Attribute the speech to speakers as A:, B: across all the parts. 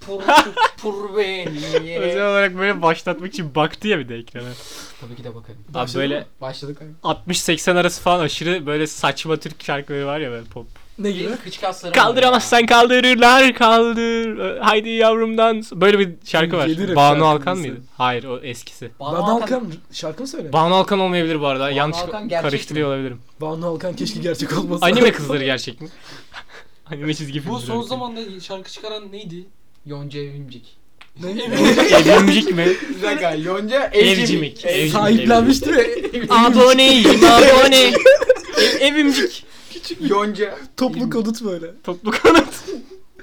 A: Pur, pur beni
B: Özel
A: yere.
B: olarak böyle başlatmak için baktı ya bir de ekrana.
A: Tabii ki de bakarım.
B: Abi
A: Başladık
B: böyle-
A: mı? Başladık abi.
B: 60-80 arası falan aşırı böyle saçma Türk şarkıları var ya böyle pop.
C: Ne
A: Benim kıç kaslarım
B: Kaldıramazsan kaldırırlar kaldır. Ö, Haydi yavrumdan. Böyle bir şarkı var.
C: Yedi rap
B: Banu
C: şarkısı.
B: Alkan mıydı? Hayır o eskisi.
C: Banu Alkan şarkı mı söyle?
B: Banu Alkan olmayabilir bu arada. Yanlış
A: Alkan gerçek
B: karıştırıyor olabilirim.
C: Banu Alkan keşke gerçek olmasa.
B: Anime kızları gerçek mi? Anime çizgi filmleri.
D: Bu son zamanda şarkı çıkaran neydi?
A: Yonca Evimcik.
C: ne?
B: Evrimcik mi?
A: Bir dakika Yonca
B: Evcimik. Evcimik.
C: Sahiplenmişti ve
B: Aboneyim abone. Ev- evimcik.
A: Yonca.
C: toplu konut böyle.
B: Toplu kanat.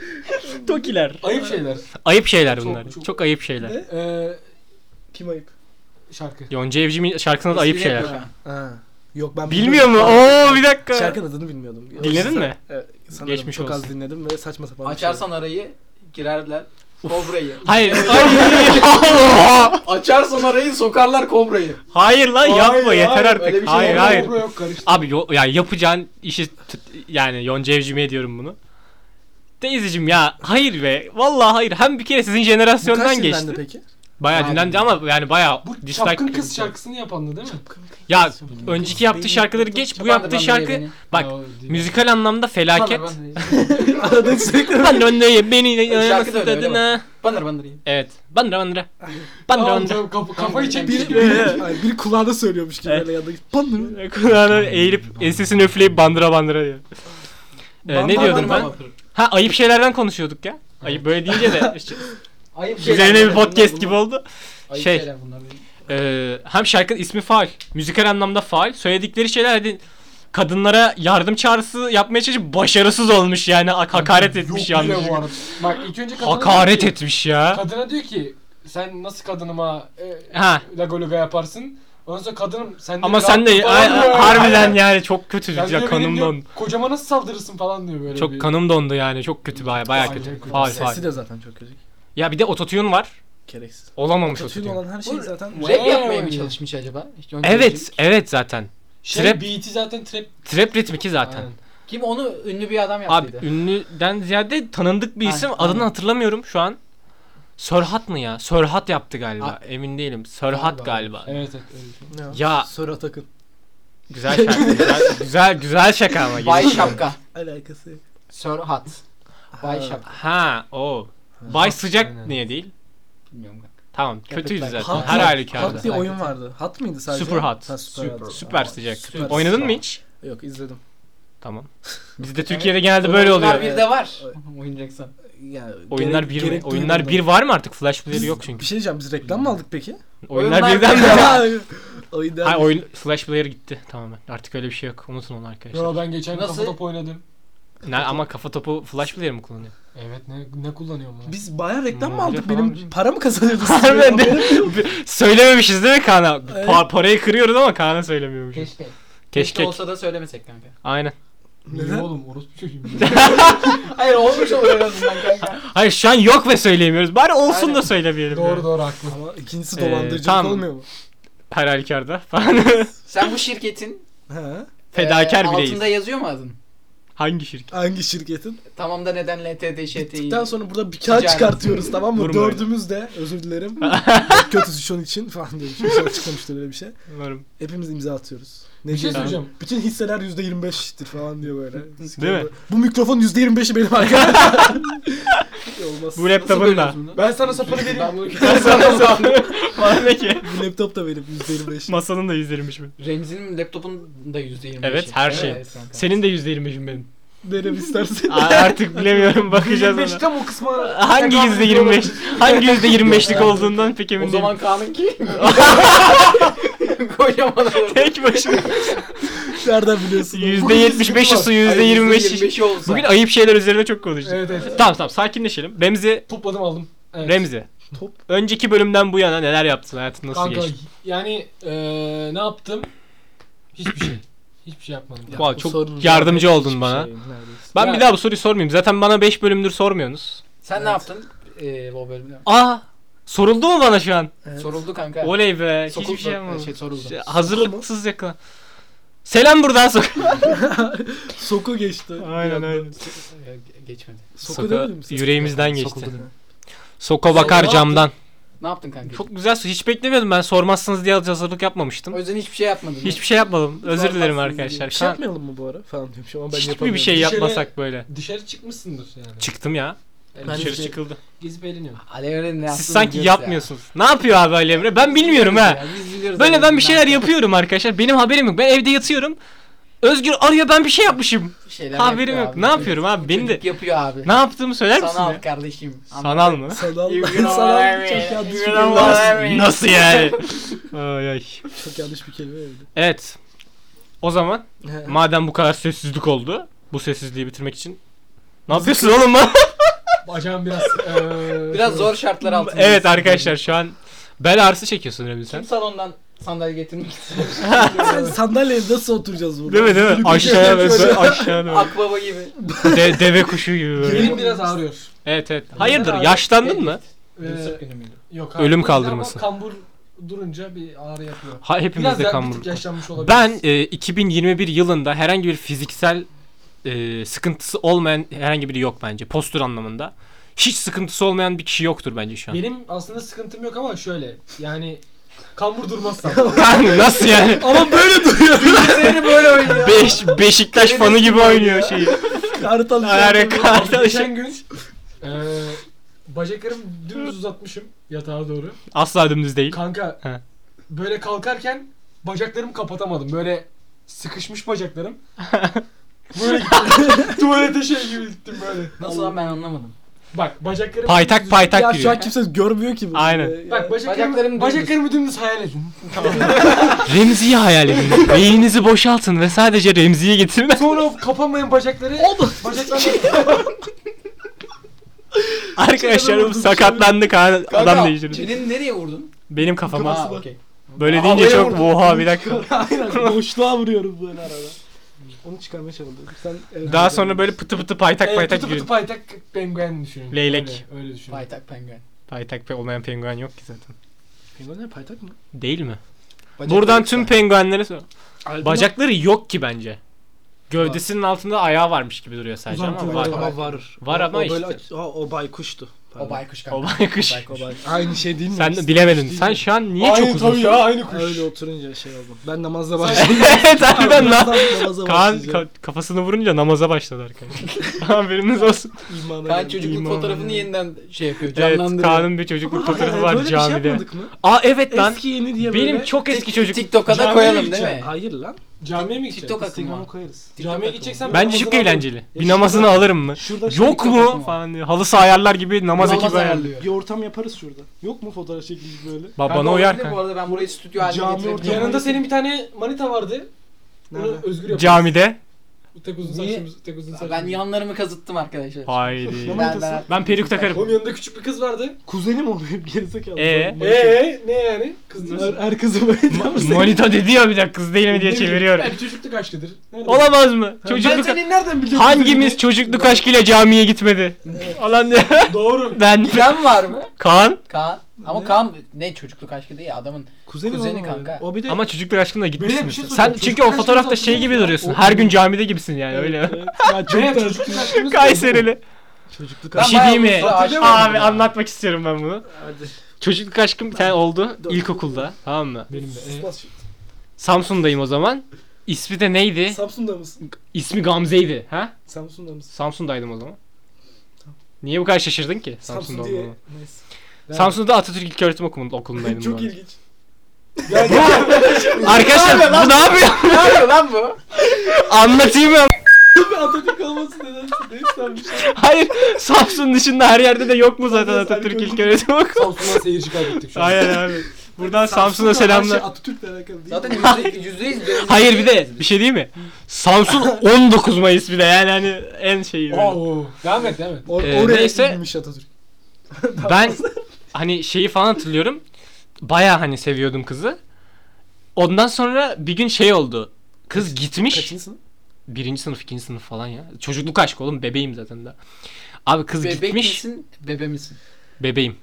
B: Tokiler.
D: Ayıp şeyler.
B: Ayıp şeyler bunlar. Çok,
D: Çok- çok-
B: ayıp şeyler.
C: Ne?
D: Ee,
C: Kim ayıp?
D: şarkı.
B: Yonca Evcim'in şarkısının adı ayıp şeyler.
C: Ha. Yok ben
B: Bilmiyor mu?
C: bilmiyorum.
B: Oo bir dakika.
C: Şarkının adını bilmiyordum.
B: Dinledin mi?
C: Evet, sanırım
B: Geçmiş
C: çok az
B: olsun.
C: dinledim ve saçma sapan. bir şey.
A: Açarsan arayı girerler. Kobra'yı.
B: Hayır. Ay!
A: Açarsan arayı sokarlar kobrayı.
B: hayır lan yapma
A: Hayır,
B: yeter
A: hayır,
B: artık.
A: öyle bir şey
B: hayır
A: olmaz.
B: hayır.
D: Kobra yok karıştı.
B: Abi yo, ya yapacağın işi t- yani Yonca Evcim'e diyorum bunu. Teyzeciğim ya hayır be. Vallahi hayır. Hem bir kere sizin
C: Bu kaç
B: jenerasyondan
C: dinlendi
B: geçti.
C: peki?
B: Bayağı
A: Abi.
B: dinlendi ama yani bayağı
D: Bu
B: dislike
D: Çapkın Kız
B: kırıldı.
D: şarkısını yapandı değil mi?
B: Ya önceki yaptığı şarkıları geç bu yaptığı şarkı bak
D: Ya, o değil.
B: müzikal anlamda felaket.
C: Arada sürekli
B: Ben önleyim beni
A: Şarkı da öyle, öyle
B: tadına.
A: Banır banır yiyin.
B: Evet. Bandıra bandıra. Bandıra
D: Tamam
B: bandıra.
D: tamam kaf- kafayı çekmiş
C: biri,
D: gibi.
C: biri, ay, biri kulağına söylüyormuş gibi
B: Evet.
C: böyle yanında gidip "Bandır."
B: Kulağına eğilip ensesini öfleyip bandıra bandıra diyor. Ee, ne
C: Bandıra
B: diyordum ben?
C: bandıra.
B: Ha ayıp şeylerden konuşuyorduk ya. Ayıp böyle deyince de işte,
A: Ayıp
B: üzerine bir podcast gibi oldu.
A: Ayıp
B: Şey.
A: şeyler bunlar benim.
B: Ee, hem şarkının ismi faal. Müzikal anlamda faal. Söyledikleri şeyler hani kadınlara yardım çağrısı yapmaya çalışıp başarısız olmuş yani hak- hakaret etmiş
D: Yok bile
B: yanlış.
D: bu arada. Bak ilk önce kadına
B: Hakaret
D: diyor ki-
B: etmiş ya.
D: Kadına diyor ki sen nasıl kadınıma e,
B: Ha.
D: lago luga yaparsın. Ondan sonra kadınım sen de
B: Ama sen de
D: rahatla falan
B: a-
D: diyor.
B: harbiden yani çok
D: Sen
B: kötü.
D: diyor,
B: Ya
D: benim
B: kanım
D: diyor,
B: dondu.
D: Kocama nasıl saldırırsın falan diyor böyle bir.
B: Çok kanım dondu yani. Çok kötü baya baya
D: Aynen,
B: kötü.
D: kötü.
B: Faal faal.
C: Sesi de zaten çok kötü.
B: Ya bir de ototune var.
C: Gereksiz.
B: Olamamış
C: Kötü
B: ototune.
C: olan her şey zaten
A: Rap yapmaya mı çalışmış acaba? İşte Yonca
B: Evet,
A: Evcimik.
B: evet zaten.
D: Şey
B: Trap-
D: beat'i zaten trap.
B: Trap ritmi ki zaten.
D: Aynen.
A: Kim onu ünlü bir adam
B: Abi
A: yaptıydı.
B: ünlüden ziyade tanındık bir
A: Aynen,
B: isim.
A: aynen.
B: Adını hatırlamıyorum şu an. Sörhat mı ya? Sörhat yaptı galiba.
A: Ah.
B: Emin değilim. Sörhat galiba.
D: Evet evet. öyle bir şey.
C: Ya.
B: Ya.
C: Soru Atak'ın
B: Güzel şaka. güzel, güzel, güzel şaka ama.
A: Bay
B: gerisi-
A: Şapka.
C: alakası yok.
A: Sir Hat. Bay Şapka.
B: Ha, o. Bay sıcak
D: Aynen.
B: niye değil?
A: Bilmiyorum ben.
B: Tamam, kötüydü
A: Köpek-
B: zaten.
C: Hat-
B: Her
C: Hat
B: halükarda.
C: diye oyun vardı. Hat mıydı sadece?
B: Super Hat.
C: Ha, super, Hat.
B: Süper sıcak.
C: Süper
B: Oynadın mı
A: sıcak.
B: hiç?
C: Yok izledim.
B: Tamam. Bizde Türkiye'de genelde böyle
A: Oyunlar
B: oluyor.
A: bir de var.
C: Evet.
A: Oynayacaksan.
C: Ya,
B: Oyunlar
C: gerek-
B: bir mi?
C: gerek
B: Oyunlar
C: duymadım.
B: bir var mı artık? Flash player
C: Biz-
B: yok çünkü.
C: Bir şey diyeceğim biz reklam mı aldık peki?
B: Oyunlar
A: Oyunlar
B: birden mi?
A: bir-
C: oyunlar.
B: Hayır oyun Flash Player gitti tamamen. Artık öyle bir şey yok. Unutun onu arkadaşlar.
D: Yo ben geçen
A: Nasıl?
D: kafa top oynadım.
B: Ne, ama kafa topu Flash Player mi kullanıyor?
D: Evet ne ne kullanıyorum lan?
C: Biz bayağı reklam mı
B: Mobil
C: aldık?
B: falan
C: Benim
B: bir şey.
C: para mı kazanıyordunuz?
B: Harbiden de- Söylememişiz değil mi Kaan'a? Pa- parayı kırıyoruz ama Kaan'a söylemiyormuşuz.
A: Keşke.
B: Keşke.
A: olsa da söylemesek kanka.
B: Aynen.
D: Niye oğlum orospu çocuğum.
A: Hayır olmuş olur en azından kanka.
B: Hayır şu an yok ve söyleyemiyoruz. Bari olsun
A: Aynen.
B: da söylemeyelim.
D: doğru
B: yani.
D: doğru haklı.
C: Ama ikincisi
B: Ee,
C: dolandırıcılık
B: tamam.
C: olmuyor mu?
B: Her halükarda falan.
A: Sen bu şirketin
C: Ha?
B: Fedakar
A: eee,
B: bireyiz.
A: Altında yazıyor mu adın?
B: Hangi şirket?
C: Hangi şirketin?
A: Tamam da neden LTD ŞTİ?
C: Bittikten sonra burada bir kağıt
A: Ticaret.
C: çıkartıyoruz tamam mı?
B: Vurma öyle.
C: Dördümüz de özür dilerim. Yok, Kötüsü şunun için falan diye bir şey Sonra çıkmamıştır öyle bir şey.
B: Umarım.
C: Hepimiz imza atıyoruz. Ne
D: Bir şey
C: diyeyim?
D: söyleyeceğim.
C: Bütün hisseler %25'tir falan diyor böyle.
B: Değil mi?
C: Bu mikrofon %25'i benim arkadaşım. Olmaz.
B: Bu laptopun da.
D: Ben sana sapını vereyim.
B: Ben sana sandım. Bana ne ki?
C: Bu laptop da benim %25.
B: Masanın da %25 mi?
A: Remzi'nin laptopunun da %25'i.
B: Evet, her şey.
A: kanka.
B: Senin de %25'im benim.
C: Derim istersen.
B: Aa, Artık bilemiyorum bakacağız ona.
D: 25'te o kısma.
B: Hangi yüzde 25? Hangi yüzde 25'lik olduğundan pek emin
A: O
B: değilim.
A: zaman Kaan'ın ki. Kocaman olur.
B: tek başına.
C: Nereden biliyorsun?
B: Yüzde 75'i su yüzde 25'i.
A: %25'i olsa.
B: Bugün ayıp şeyler üzerine çok konuşacağız.
D: Evet evet.
B: Tamam tamam sakinleşelim. Remzi,
D: Topladım aldım. Evet.
B: Remzi.
C: Top.
B: Önceki bölümden bu yana neler yaptın? Hayatın nasıl
D: Kanka
B: geçti?
D: yani eee ne yaptım? Hiçbir şey. Hiçbir şey yapmadım.
C: Ya,
B: Vay,
C: bu
B: çok
C: sorunun
B: yardımcı
C: zaten
B: oldun
C: hiçbir
B: bana.
C: şey yok neredeyse.
B: Ben
D: Ya-
B: bir daha bu soruyu sormayayım. Zaten bana 5 bölümdür sormuyorsunuz.
A: Sen ne yaptın? Ee, bu bölümde.
B: Aa! Soruldu mu bana şu an?
C: Evet.
A: Soruldu kanka.
B: Oley be.
A: Sokuldu.
B: Hiçbir şey yapmadım.
A: Şey, soruldu.
B: Şey, hazırlıksız yakala. Selam buradan sok.
C: Soku geçti.
B: Aynen, aynen.
A: Ee, Geçmedi.
C: Soku,
B: Soka
C: demedim mi?
B: yüreğimizden geçti.
A: Sokuldu.
B: Soka bakar
D: ne
B: camdan.
A: Ne yaptın kanka?
B: Çok güzel su. Hiç beklemiyordum ben. Sormazsınız diye hazırlık yapmamıştım.
A: O yüzden hiçbir şey yapmadın.
B: Hiçbir şey yapmadım. Özür dilerim
A: Sormazsınız
B: arkadaşlar.
C: Bir şey
B: Kan-
C: yapmayalım mı bu ara falan demiş ama ben
B: Hiçbir
C: yapamıyorum.
B: bir şey
D: Dışarı-
B: yapmasak böyle.
D: Dışarı çıkmışsındır yani.
B: Çıktım ya.
D: Yani
C: Ben
B: Dışarı
C: de-
B: çıkıldı.
D: Gezip eğleniyorum.
A: Alevren'in ne yaptığını
B: Siz sanki
A: biliyoruz ya.
B: yapmıyorsunuz. Ne yapıyor abi Ali Emre? Ben bilmiyorum ha.
A: Ya, biz biliyoruz
B: Böyle ben
A: Alevren'in
B: bir
A: ne
B: şeyler
A: yaptığını.
B: yapıyorum arkadaşlar. Benim haberim yok. Ben evde yatıyorum. Özgür arıyor ben bir şey yapmışım.
A: Bir şeyler
B: Haberim
A: yapıyor
B: yok.
A: abi.
B: Ne yapıyorum abi? Beni de
A: Çocuk yapıyor abi.
B: ne yaptığımı söyler misin?
A: Sanal
B: ya?
A: kardeşim.
B: Sanal mı?
C: Sanal,
A: You know what I
C: sanal
A: mean.
C: çok yanlış bir
A: You
C: kelime.
A: know what I mean.
B: Nasıl, nasıl yani? ay ay.
C: Çok yanlış bir kelime öyle.
B: Evet. O zaman
C: He.
B: madem bu kadar sessizlik oldu. Bu sessizliği bitirmek için. Ne yapıyorsun oğlum lan?
D: Bacağım biraz... e, eee,
A: Biraz zor şartlar altında.
B: evet arkadaşlar şu an bel ağrısı çekiyorsun Emre
A: Kim
B: sen.
A: salondan sandalye getirmek istiyor?
C: Sen sandalyeye nasıl oturacağız burada?
B: Değil mi değil mi?
C: Yürü
B: Aşağıya
C: gidiyoruz.
B: ve aşağıya doğru.
A: Akbaba gibi.
B: De- deve kuşu gibi böyle.
D: Benim biraz ağrıyor.
B: Evet evet. Hayırdır yaşlandın mı?
D: Eee, yok abi.
B: Ölüm kaldırması.
D: Ama kambur durunca bir ağrı yapıyor.
B: Ha,
D: Biraz
B: hepimizde
D: daha bir
B: kambur.
D: tık yaşlanmış olabilir.
B: Ben e, 2021 yılında herhangi bir fiziksel e, sıkıntısı olmayan herhangi biri yok bence. Postür anlamında. Hiç sıkıntısı olmayan bir kişi yoktur bence şu an.
D: Benim aslında sıkıntım yok ama şöyle yani kambur durmazsam.
B: Kanka nasıl yani?
C: Ama böyle duruyor.
A: Seni böyle oynuyor.
B: Beş, Beşiktaş fanı gibi oynuyor şey, şeyi.
C: Kartal.
B: Ayarı
D: Geçen gün eee bacaklarımı dümdüz uzatmışım yatağa doğru.
B: Asla dümdüz değil.
D: Kanka
B: He.
D: böyle kalkarken bacaklarımı kapatamadım. Böyle sıkışmış bacaklarım. böyle gittim. tuvalete şey gibi gittim böyle.
A: Nasıl lan ben anlamadım.
D: Bak bacaklarımı
B: Paytak
D: dümdüz-
B: paytak
C: Ya şu an
B: giriyor.
C: kimse görmüyor ki bunu. Ee,
B: Aynen.
C: Ya.
D: Bak bacaklarımı,
A: Bacaklarım
D: bacaklarımı,
A: dümdüz.
D: dümdüz. hayal edin.
B: Remzi'yi hayal edin. Beyninizi boşaltın ve sadece Remzi'yi getirin.
D: Sonra o kapanmayan bacakları bacaklarla
B: Arkadaşlar bu
D: şey
B: sakatlandı kan adam değiştirdi.
A: çeneni nereye vurdun?
B: Benim kafama.
A: Ha okey.
B: Böyle
C: Aa,
B: deyince
C: oraya
B: çok
C: vurdum.
B: oha bir dakika.
C: Aynen. Boşluğa vuruyorum böyle arada. Onu çıkarmaya çalışıyorum. Sen e, evet,
B: Daha sonra böyle pıtı pıtı paytak
D: evet,
B: paytak
D: pıtı
B: giriyor.
D: pıtı Ee, paytak penguen düşünün.
B: Leylek.
D: Öyle, öyle düşünün.
A: Paytak penguen.
B: Paytak pe- olmayan penguen yok ki zaten.
C: Penguenler paytak mı?
B: Değil mi?
A: Bacakları
B: Buradan
A: kısa.
B: tüm penguenlere sor.
C: Albino-
B: Bacakları yok ki bence. Gövdesinin altında ayağı varmış gibi duruyor sadece ama
D: Uzantıları
B: var.
D: var.
C: Ama var.
B: Var ama
C: o, o böyle
B: işte.
C: aç- Ha, o baykuştu.
A: O
C: Pardon.
A: baykuş kanka.
B: O baykuş.
A: O baykuş.
C: Aynı şey değil mi?
B: Sen de bilemedin. Sen şu an niye çok
D: Aynı tabii
B: uzunsun?
D: ya aynı kuş.
C: Öyle oturunca şey oldu. Ben namazda başladım.
B: evet harbiden lan.
C: namaza
B: Kaan
C: başlayacağım.
B: ka- kafasını vurunca namaza başladı arkadaşlar. Haberiniz olsun.
C: İmana
A: Kaan
C: geldim.
B: İyiyim
A: çocukluk
B: abi.
A: fotoğrafını yeniden şey yapıyor.
B: Evet
A: Canlandırıyor.
B: Kaan'ın bir çocukluk fotoğrafı
C: Aa,
B: var
C: böyle bir şey
B: camide.
C: yapmadık mı?
B: Aa evet lan.
C: Eski yeni diye böyle.
B: Benim çok eski çocuk.
A: TikTok'a da
D: Camiye
A: koyalım değil
D: gideceğim.
A: mi?
C: Hayır lan.
D: Camiye mi gideceksin?
A: TikTok akımı.
C: Instagram'a
A: var.
C: koyarız.
D: Camiye gideceksen
B: Bence çok
D: namazını
B: eğlenceli. Bir
C: Yaşında-
B: namazını alırım mı?
C: Şurada şey-
B: Yok mu?
A: TikTok'um var.
B: Falan diyor. Halı saha ayarlar gibi namaz
A: Namaz
B: ekibi ayarlıyor.
A: ayarlıyor.
C: Bir ortam yaparız şurada. Yok mu fotoğraf çekilmiş böyle?
A: Kanka
B: Babana uyar
A: olabilir Bu
B: kanka.
A: arada ben burayı stüdyo haline
C: Cami
D: alalım.
A: getirebilirim.
C: ortamı.
D: Yanında senin bir tane manita vardı. Onu
C: Nerede?
D: özgür yapıyor.
B: Camide.
D: Tek uzun
A: Niye?
D: saçımız, tek uzun saçımız.
A: Ben yanlarımı kazıttım arkadaşlar.
B: Haydi.
C: Yaman-
A: Ben, ben,
B: Ben peruk
D: Onun
B: takarım.
D: yanında küçük bir kız vardı.
C: Kuzenim oluyor hep gerizekalı.
B: Ee?
D: Eee ne yani? Kız
C: Her,
D: diyorsun.
C: her kızı böyle
B: Manita dedi ya bir dakika kız değil mi diye
D: Ne bileyim,
B: çeviriyorum.
D: Belki çocukluk aşkıdır. Nerede?
B: Olamaz mı?
D: Ben
B: Çocukluk
D: senin nereden biliyorum?
B: Hangimiz çocukluk aşkıyla camiye gitmedi? Alan
D: Doğru.
B: ben
A: İrem var mı?
B: Kaan
A: Kaan. Ama
C: Ne?
A: Kaan ne çocukluk aşkı değil adamın.
C: Kuzenim
A: Kuzeni
C: oğlum o
A: kanka.
C: benim. O bir de
B: ama çocukluk aşkına gitmişsin.
D: bir şey
B: Sen
D: soracağım.
B: çünkü
D: Çocukluk
B: o
D: aşkını
B: fotoğrafta şey
D: hatırlıyor
B: gibi
D: musun?
B: duruyorsun.
C: O-
B: Her gün camide gibisin yani
C: Evet,
B: öyle.
C: evet. Ya çok
D: Meğer
C: da
D: çocukluk aşkımız
B: Kayserili.
C: çocukluk
B: Bir
A: Ben
B: şey
A: bayağı
B: diyeyim mi?
A: uzun süre aşığım
B: Abi
A: ya.
B: anlatmak istiyorum ben bunu.
C: Hadi.
B: Çocukluk aşkım bir tane oldu ilkokulda. Tamam mı?
D: Benim de. ee.
B: Samsun'dayım o zaman. İsmi de neydi?
C: Samsun'da mısın?
B: İsmi Gamze'ydi. Ha?
C: Samsun'da mısın?
B: Samsun'daydım o zaman. Niye bu kadar şaşırdın ki? Samsun'da
C: Samsun
B: olmama.
C: diye. Neyse.
B: Samsun'da Atatürk İlköğretim Okulu'nda okulundaydım. bu
C: Çok
B: arada.
C: ilginç.
B: Arkadaşlar bu ne yapıyor?
A: ne yapıyor lan bu?
B: Anlatayım ben.
C: Atatürk olması neden? Neyse abi bir şey.
B: Hayır. Samsun dışında her yerde de yok mu zaten
C: Zaten
B: Atatürk
C: Atatürk
B: İlköğretim Okulu?
D: Samsun'dan seyirci kaybettik şu an.
B: Aynen abi. Buradan Samsun'a
C: Samsun'da her
B: selamlar.
C: Şey Atatürk'le alakalı değil.
A: Zaten yüzde, yüzdeyiz. dövizdeyiz.
B: Hayır bir de bir şey değil mi? Samsun 19 Mayıs bir de yani hani en şeyi. böyle.
D: Oo. Devam et devam et.
C: Or
B: Ee,
C: oraya
B: neyse.
C: gidilmiş Atatürk.
B: Ben hani şeyi falan hatırlıyorum. Baya hani seviyordum kızı. Ondan sonra bir gün şey oldu. Kız gitmiş.
C: Kaçıncı sınıf?
B: Birinci sınıf, ikinci sınıf falan ya. Çocukluk aşkı oğlum bebeğim zaten daha. Abi kız
A: Bebek
B: gitmiş.
A: misin? Bebe misin?
B: Bebeğim.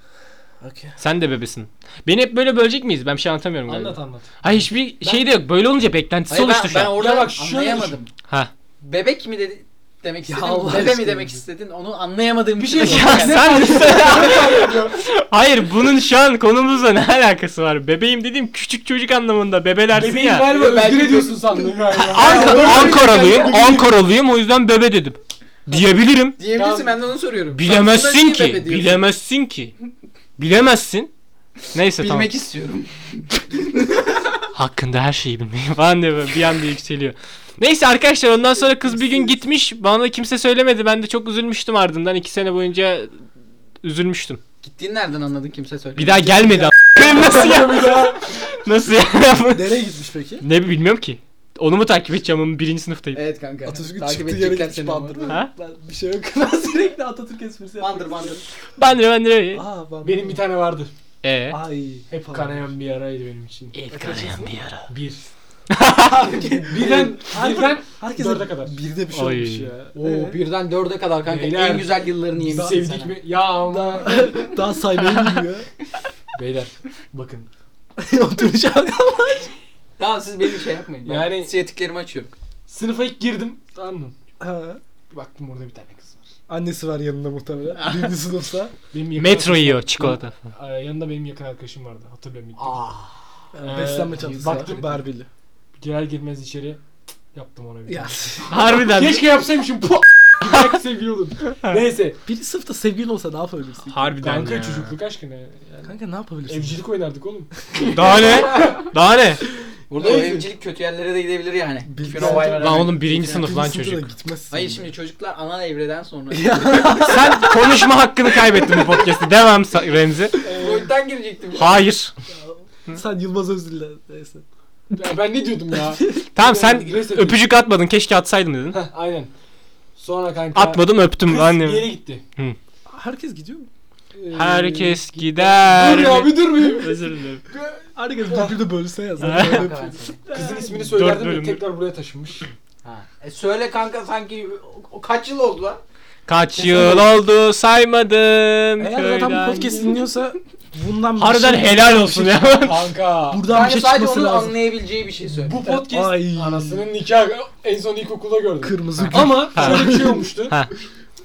C: Okey.
B: Sen de bebesin. Beni hep böyle bölecek miyiz? Ben bir şey anlatamıyorum galiba.
D: Anlat anlat.
B: Ha hiçbir şey de yok. Böyle olunca beklentisi
A: Hayır ben,
B: oluştu şu
A: ben
B: an.
A: orada
D: Ya bak şöyle
A: anlayamadım.
B: Ha.
A: Bebek mi dedi? demek istedin,
D: Allah
A: bebe mi
D: aşkına.
A: demek istedin onu anlayamadığım
D: Bir
A: için
D: şey
A: oldu
B: Ya
A: yani.
B: sen Hayır bunun şu an konumuzla ne alakası var? Bebeğim dediğim küçük çocuk anlamında bebelersin
D: Bebeğim
B: ya.
D: galiba
A: Belki
D: özgür
A: de-
D: ediyorsun sandım galiba.
B: Anka- Ankaralıyım, Ankaralıyım o yüzden bebe dedim. Diyebilirim.
A: Diyebilirsin
D: Tamam.
A: ben de onu soruyorum. Sonunda
B: Bilemezsin
A: niye
B: ki.
A: bebe diyorsun?
B: Bilemezsin ki. Bilemezsin. Neyse
A: Bilmek
B: tamam.
A: istiyorum.
B: Hakkında her şeyi bilmeyi falan diye böyle bir anda yükseliyor. Neyse arkadaşlar ondan sonra kız bir gün gitmiş. Bana da kimse söylemedi. Ben de çok üzülmüştüm ardından. iki sene boyunca üzülmüştüm.
A: Gittiğini nereden anladın kimse söyle.
B: Bir daha gelmedi. a- Nasıl ya? Nasıl ya?
C: Nereye gitmiş peki?
B: Ne bi- bilmiyorum ki. Onu mu takip edeceğim? Onun birinci sınıftayım.
A: Evet kanka.
C: Atatürk'ün
A: Takip
C: çıktığı yere
A: edecekler
C: gitmiş
A: seni ama.
C: bandır.
B: Ha?
C: Ben- Bir şey yok.
D: Ben sürekli Atatürk esprisi
A: Bandır bandır.
B: Ben de ben de.
C: Aa, ben
D: Benim bir tane vardı.
B: Ee.
C: Ay.
D: Hep kanayan bir yaraydı benim için.
B: İlk arayan bir ara.
D: Bir. birden, birden
C: Herkes
D: dörde kadar.
C: Bir de bir şey
B: Ay.
C: olmuş ya.
D: Oo,
C: Ee,
A: Birden dörde kadar kanka
D: Beyler,
A: en güzel yıllarını
D: Bizi
A: yemişsin
D: sevdik
A: sen.
D: mi? Ya ama.
C: daha saymayı bilmiyor.
D: Beyler bakın.
C: Oturacağım.
A: Tamam siz benim şey yapmayın. Ben
D: Yani-
A: yani... siyatiklerimi açıyorum.
D: Sınıfa ilk girdim. Tamam mı?
C: Ha.
D: Baktım orada bir tane kız var.
C: Annesi var yanında muhtemelen. Birinci sınıfta.
D: Benim yakın
B: Metro
D: arkadaşım-
B: yiyor çikolata.
D: Aa, Ee, Yanında benim yakın arkadaşım vardı. Hatırlıyorum.
A: Ah.
D: Ee,
C: Beslenme çantası
D: baktım-
C: var. Barbili.
D: Girer girmez içeri cık, yaptım ona bir.
C: Ya.
D: tane.
B: Harbiden.
D: Keşke yapsaymışım. Puh! Belki sevgili olurdum. Neyse.
C: Biri sınıfta sevgili olsa ne yapabilirsin?
B: Harbiden
D: Kanka
B: ya.
D: çocukluk aşkına. Yani.
C: Kanka ne yapabilirsin?
D: Evcilik oynardık oğlum.
B: Daha ne? Daha ne?
A: Burada o
D: Neyse.
A: evcilik kötü yerlere de gidebilir yani.
C: Bilmiyorum.
A: Bütün o olaylara
B: Lan
A: rağmen.
B: oğlum birinci
A: Kesinlikle.
B: sınıf lan
C: Birinci sınıfta da
B: çocuk.
C: Gitmezsin.
A: Hayır şimdi çocuklar ana evreden sonra.
B: Sen konuşma hakkını kaybettin bu podcast'te. Devam Sa- Remzi.
C: Ee.
A: Boyuttan girecektim.
B: Hayır.
C: Sen Yılmaz Özdil'le neyse.
D: Ya ben ne diyordum ya?
B: Tamam sen
D: Neyse.
B: öpücük atmadın. Keşke atsaydım dedin.
D: Heh, Aynen. Sonra kanka.
B: Atmadım öptüm
D: Kız bir yere
B: annem.
D: gitti.
C: Herkes gidiyor mu?
D: Ee,
B: Herkes gider.
D: Dur ya bir dur bir.
B: Özür dilerim.
C: Herkes birbirine bölse ya.
B: Ha.
C: Zaten öyle-
D: Kızın ismini
B: Dört
D: söylerdim de
B: bölümlü.
D: tekrar buraya taşınmış.
A: Ha. E söyle kanka sanki o- o kaç yıl oldu lan?
B: Kaç yıl oldu saymadım.
C: Eğer adam
B: köyden.
C: bu podcast dinliyorsa bundan bir
B: Harbiden
C: şey-
B: helal olsun ya.
D: Kanka.
C: Buradan bir
A: Kanka
C: şey
A: sadece
C: çıkması
A: onu
C: lazım.
A: anlayabileceği bir şey söyle.
D: Bu podcast
C: Ay.
D: anasının nikahı en son ilkokulda gördüm.
C: Kırmızı gül.
D: Ama
B: Ha.
D: şöyle bir şey olmuştu.
B: Ha.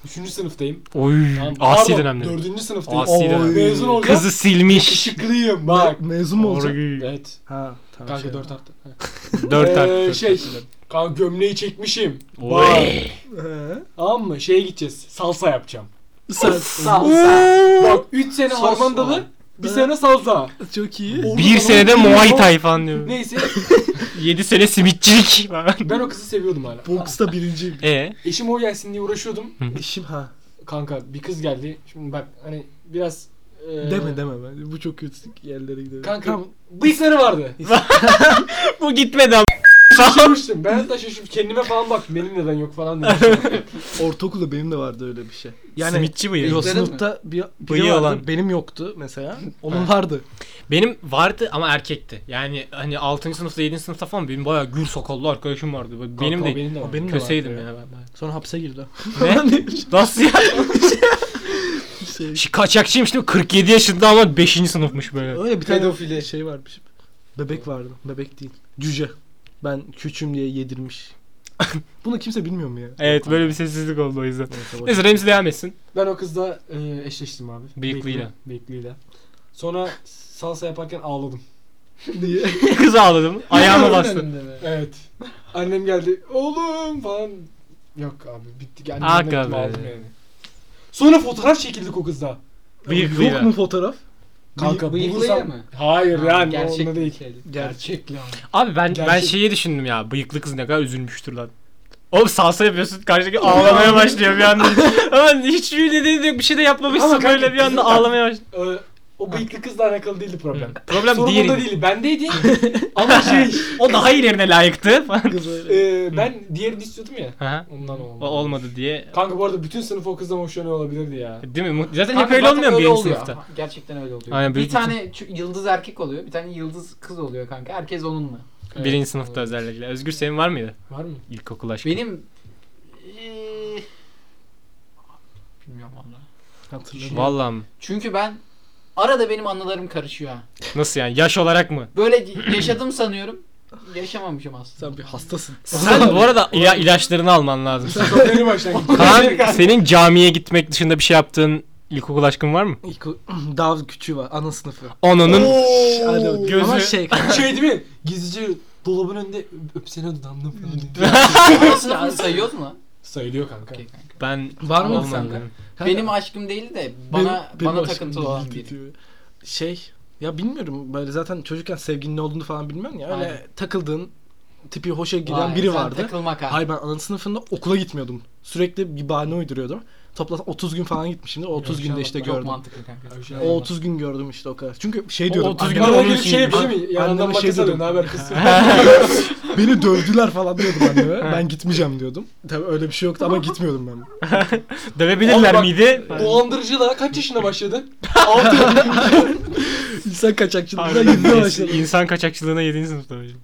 D: Üçüncü sınıftayım.
B: Oy.
D: Tamam,
B: Asi
D: pardon,
B: dönemleri.
D: Dördüncü sınıftayım.
B: Asi dönem.
D: Mezun olacağım.
B: Kızı silmiş.
D: Şıklıyım bak.
C: Mezun mu olacak?
B: Oy.
D: Evet.
C: Ha tamam.
D: Kanka
C: şey.
D: dört arttı.
B: Dört
D: Ee,
B: artı.
D: Şey. Kanka gömleği çekmişim. Bak.
B: Oy.
C: He.
D: Tamam mı? Şeye gideceğiz. Salsa yapacağım.
C: Sen
A: Salsa.
D: Bak 3 sene
A: Salsa.
D: harmandalı. Bir
C: Ha.
D: sene salsa.
C: çok iyi.
D: O-
B: Bir senede Muay Thai falan diyor.
D: Neyse.
B: Yedi sene simitçilik.
D: Ben o kızı seviyordum hala.
C: Boksta birinciyim.
B: e
D: Eşim o gelsin diye uğraşıyordum.
C: İşim ha.
D: Kanka bir kız geldi. Şimdi bak hani biraz... E,
B: Ee,
C: Deme deme ben. Bu çok kötü yerlere gidiyor.
D: Kanka
C: Tamam.
D: bıyıkları vardı.
B: bu gitmedi ama.
D: Şaşırmıştım. Ben hatta şaşırdım. Kendime falan bak. Benim neden yok falan dedim.
C: Ortaokulda benim de vardı öyle bir şey.
B: Yani
C: Yani
B: simitçi bıyığı.
C: yo,
A: Yok. Bıyıkların
C: sınıfta bir, biri
B: Bıyığı
C: vardı.
B: olan.
C: Benim yoktu mesela. Onun vardı.
B: Benim vardı ama erkekti. Yani hani 6. sınıfta 7. sınıfta falan benim bayağı gür sakallı arkadaşım vardı. Bak Benim de
D: Kanka, Benim de var.
C: O benim de
B: köseydim
C: vardı
B: ya. ben bayağı.
C: Sonra hapse girdi.
B: Ne? Nasıl ya?
C: Şey-
B: Şu Kaçakçıymış değil mi? 47 yaşında ama 5. sınıfmış böyle.
C: Öyle bir tane
A: Pedofili.
C: şey varmış. Bebek vardı. Bebek değil. Cüce. Ben küçüm diye yedirmiş. Bunu kimse bilmiyor mu ya?
B: Evet böyle bir sessizlik oldu o yüzden.
C: Neyse, boş-
B: Neyse Remzi devam etsin.
D: Ben o kızla e, eşleştim abi.
B: Bıyıklıyla.
D: Bıyıklı- Bıyıklıyla. Sonra salsa yaparken ağladım.
C: Niye?
B: Kız ağladı mı? Ayağıma bastı.
D: Evet. Annem geldi. Oğlum falan. Yok abi bitti. Annem
B: Hakikaten.
D: ağladım yani. Sonra fotoğraf çekildik o kızla.
B: Bıyıklıyla.
C: Yok mu fotoğraf?
D: Kanka
A: Bıyıklıyla
D: bulursam-
A: mı?
D: Hayır yani
A: Gerçek
D: onunla değil.
A: şeydi.
D: Gerçekli abi.
B: Abi ben ben
D: Gerçek-
B: şeyi düşündüm ya. Bıyıklı kız ne kadar üzülmüştür lan. Oğlum salsa yapıyorsun karşıdaki ağlamaya başlıyor bir anda. Ama hiçbir nedeni de yok bir şey de yapmamışsın
D: Ama kanka,
B: böyle bir anda
D: kızın-
B: ağlamaya başlıyor.
D: Ee, o bıyıklı kızla alakalı değildi problem.
B: Problem
D: Sorun
B: diğeri.
D: onda değildi. Bendeydi. Ama şey.
B: O daha ilerine layıktı falan.
C: Kız öyle.
D: e, ben diğerini istiyordum ya.
B: Aha.
D: Ondan olmadı.
B: O olmadı diye.
D: Kanka bu arada bütün sınıf o kızdan hoşlanıyor olabilirdi ya.
B: Değil mi? Mu- Zaten hep
A: Kanka
B: öyle
A: zaten
B: olmuyor mu birinci
A: oluyor.
B: sınıfta?
A: Ha, Gerçekten öyle oluyor.
B: Aynen,
A: bir
B: büyük
A: tane ç- yıldız erkek oluyor, bir tane yıldız kız oluyor kanka. Herkes onunla.
D: Evet.
B: Birinci sınıfta özellikle. Özgür senin var mıydı?
D: Var mı?
B: İlkokul aşkı.
A: Benim eee, bilmiyorum valla.
C: Hatırlamıyorum.
B: Vallahi mı?
A: Çünkü ben arada benim anılarım karışıyor ha.
B: Nasıl yani? Yaş olarak mı?
A: Böyle yaşadım sanıyorum. Yaşamamışım aslında.
C: Sen bir hastasın.
B: Sen bu arada ila- ilaçlarını alman lazım.
D: Çok yeni başlangıç.
B: Kaan senin camiye gitmek dışında bir şey yaptığın ilkokul aşkın var mı?
C: İlk o- daha küçüğü var. Ana sınıfı.
B: Onunun
C: Hadi bakalım.
B: Gözü-
C: Ama şey
D: şey değil mi? Gizlice dolabın önünde öpsene dudağımdan falan. diye.
A: Sınıfını sayıyoruz mu?
D: Sayılıyor kanka.
A: Okey kanka.
B: ben
C: Var mı
B: olmadı.
A: sende? Benim aşkım değil de bana
C: Benim-
A: bana
C: benim
A: takıntılı
C: aşkım
A: olan
C: değil
A: biri.
C: diyor. Şey ya bilmiyorum böyle zaten çocukken sevginin ne olduğunu falan bilmiyorsun ya. Öyle
A: Aynen.
C: takıldığın tipi hoşa giden
A: Vay,
C: biri
A: sen
C: vardı.
A: Takılmak ha.
C: Hayır ben ana sınıfında okula gitmiyordum. Sürekli bir bahane uyduruyordum. Toplam 30 gün falan gitmişimdir. O 30 günde işte
A: Çok
C: gördüm.
A: mantıklı kanka.
D: Ayşe-
C: O 30 gün gördüm işte o kadar. Çünkü şey
B: O
C: diyordum.
B: 30 gün
C: anneme-
D: Bana
B: onun
D: şey gelip şey
B: şeyi-
D: yapıyor değil mi?
C: Anneme
D: Yanından
C: şey
D: makas
C: diyordum.
D: alıyor. Ne haber kız?
C: Beni dövdüler falan diyordum anneme. ben gitmeyeceğim diyordum. Tabii öyle bir şey yoktu ama gitmiyordum ben.
B: Dövebilirler
D: Abi bak-
B: miydi?
D: Dolandırıcılığa kaç yaşına başladın?
C: İnsan kaçakçılığına
B: Harbiden
C: girmeye
B: insan-
C: başladım.
B: İnsan kaçakçılığına 7. sınıfta hocam.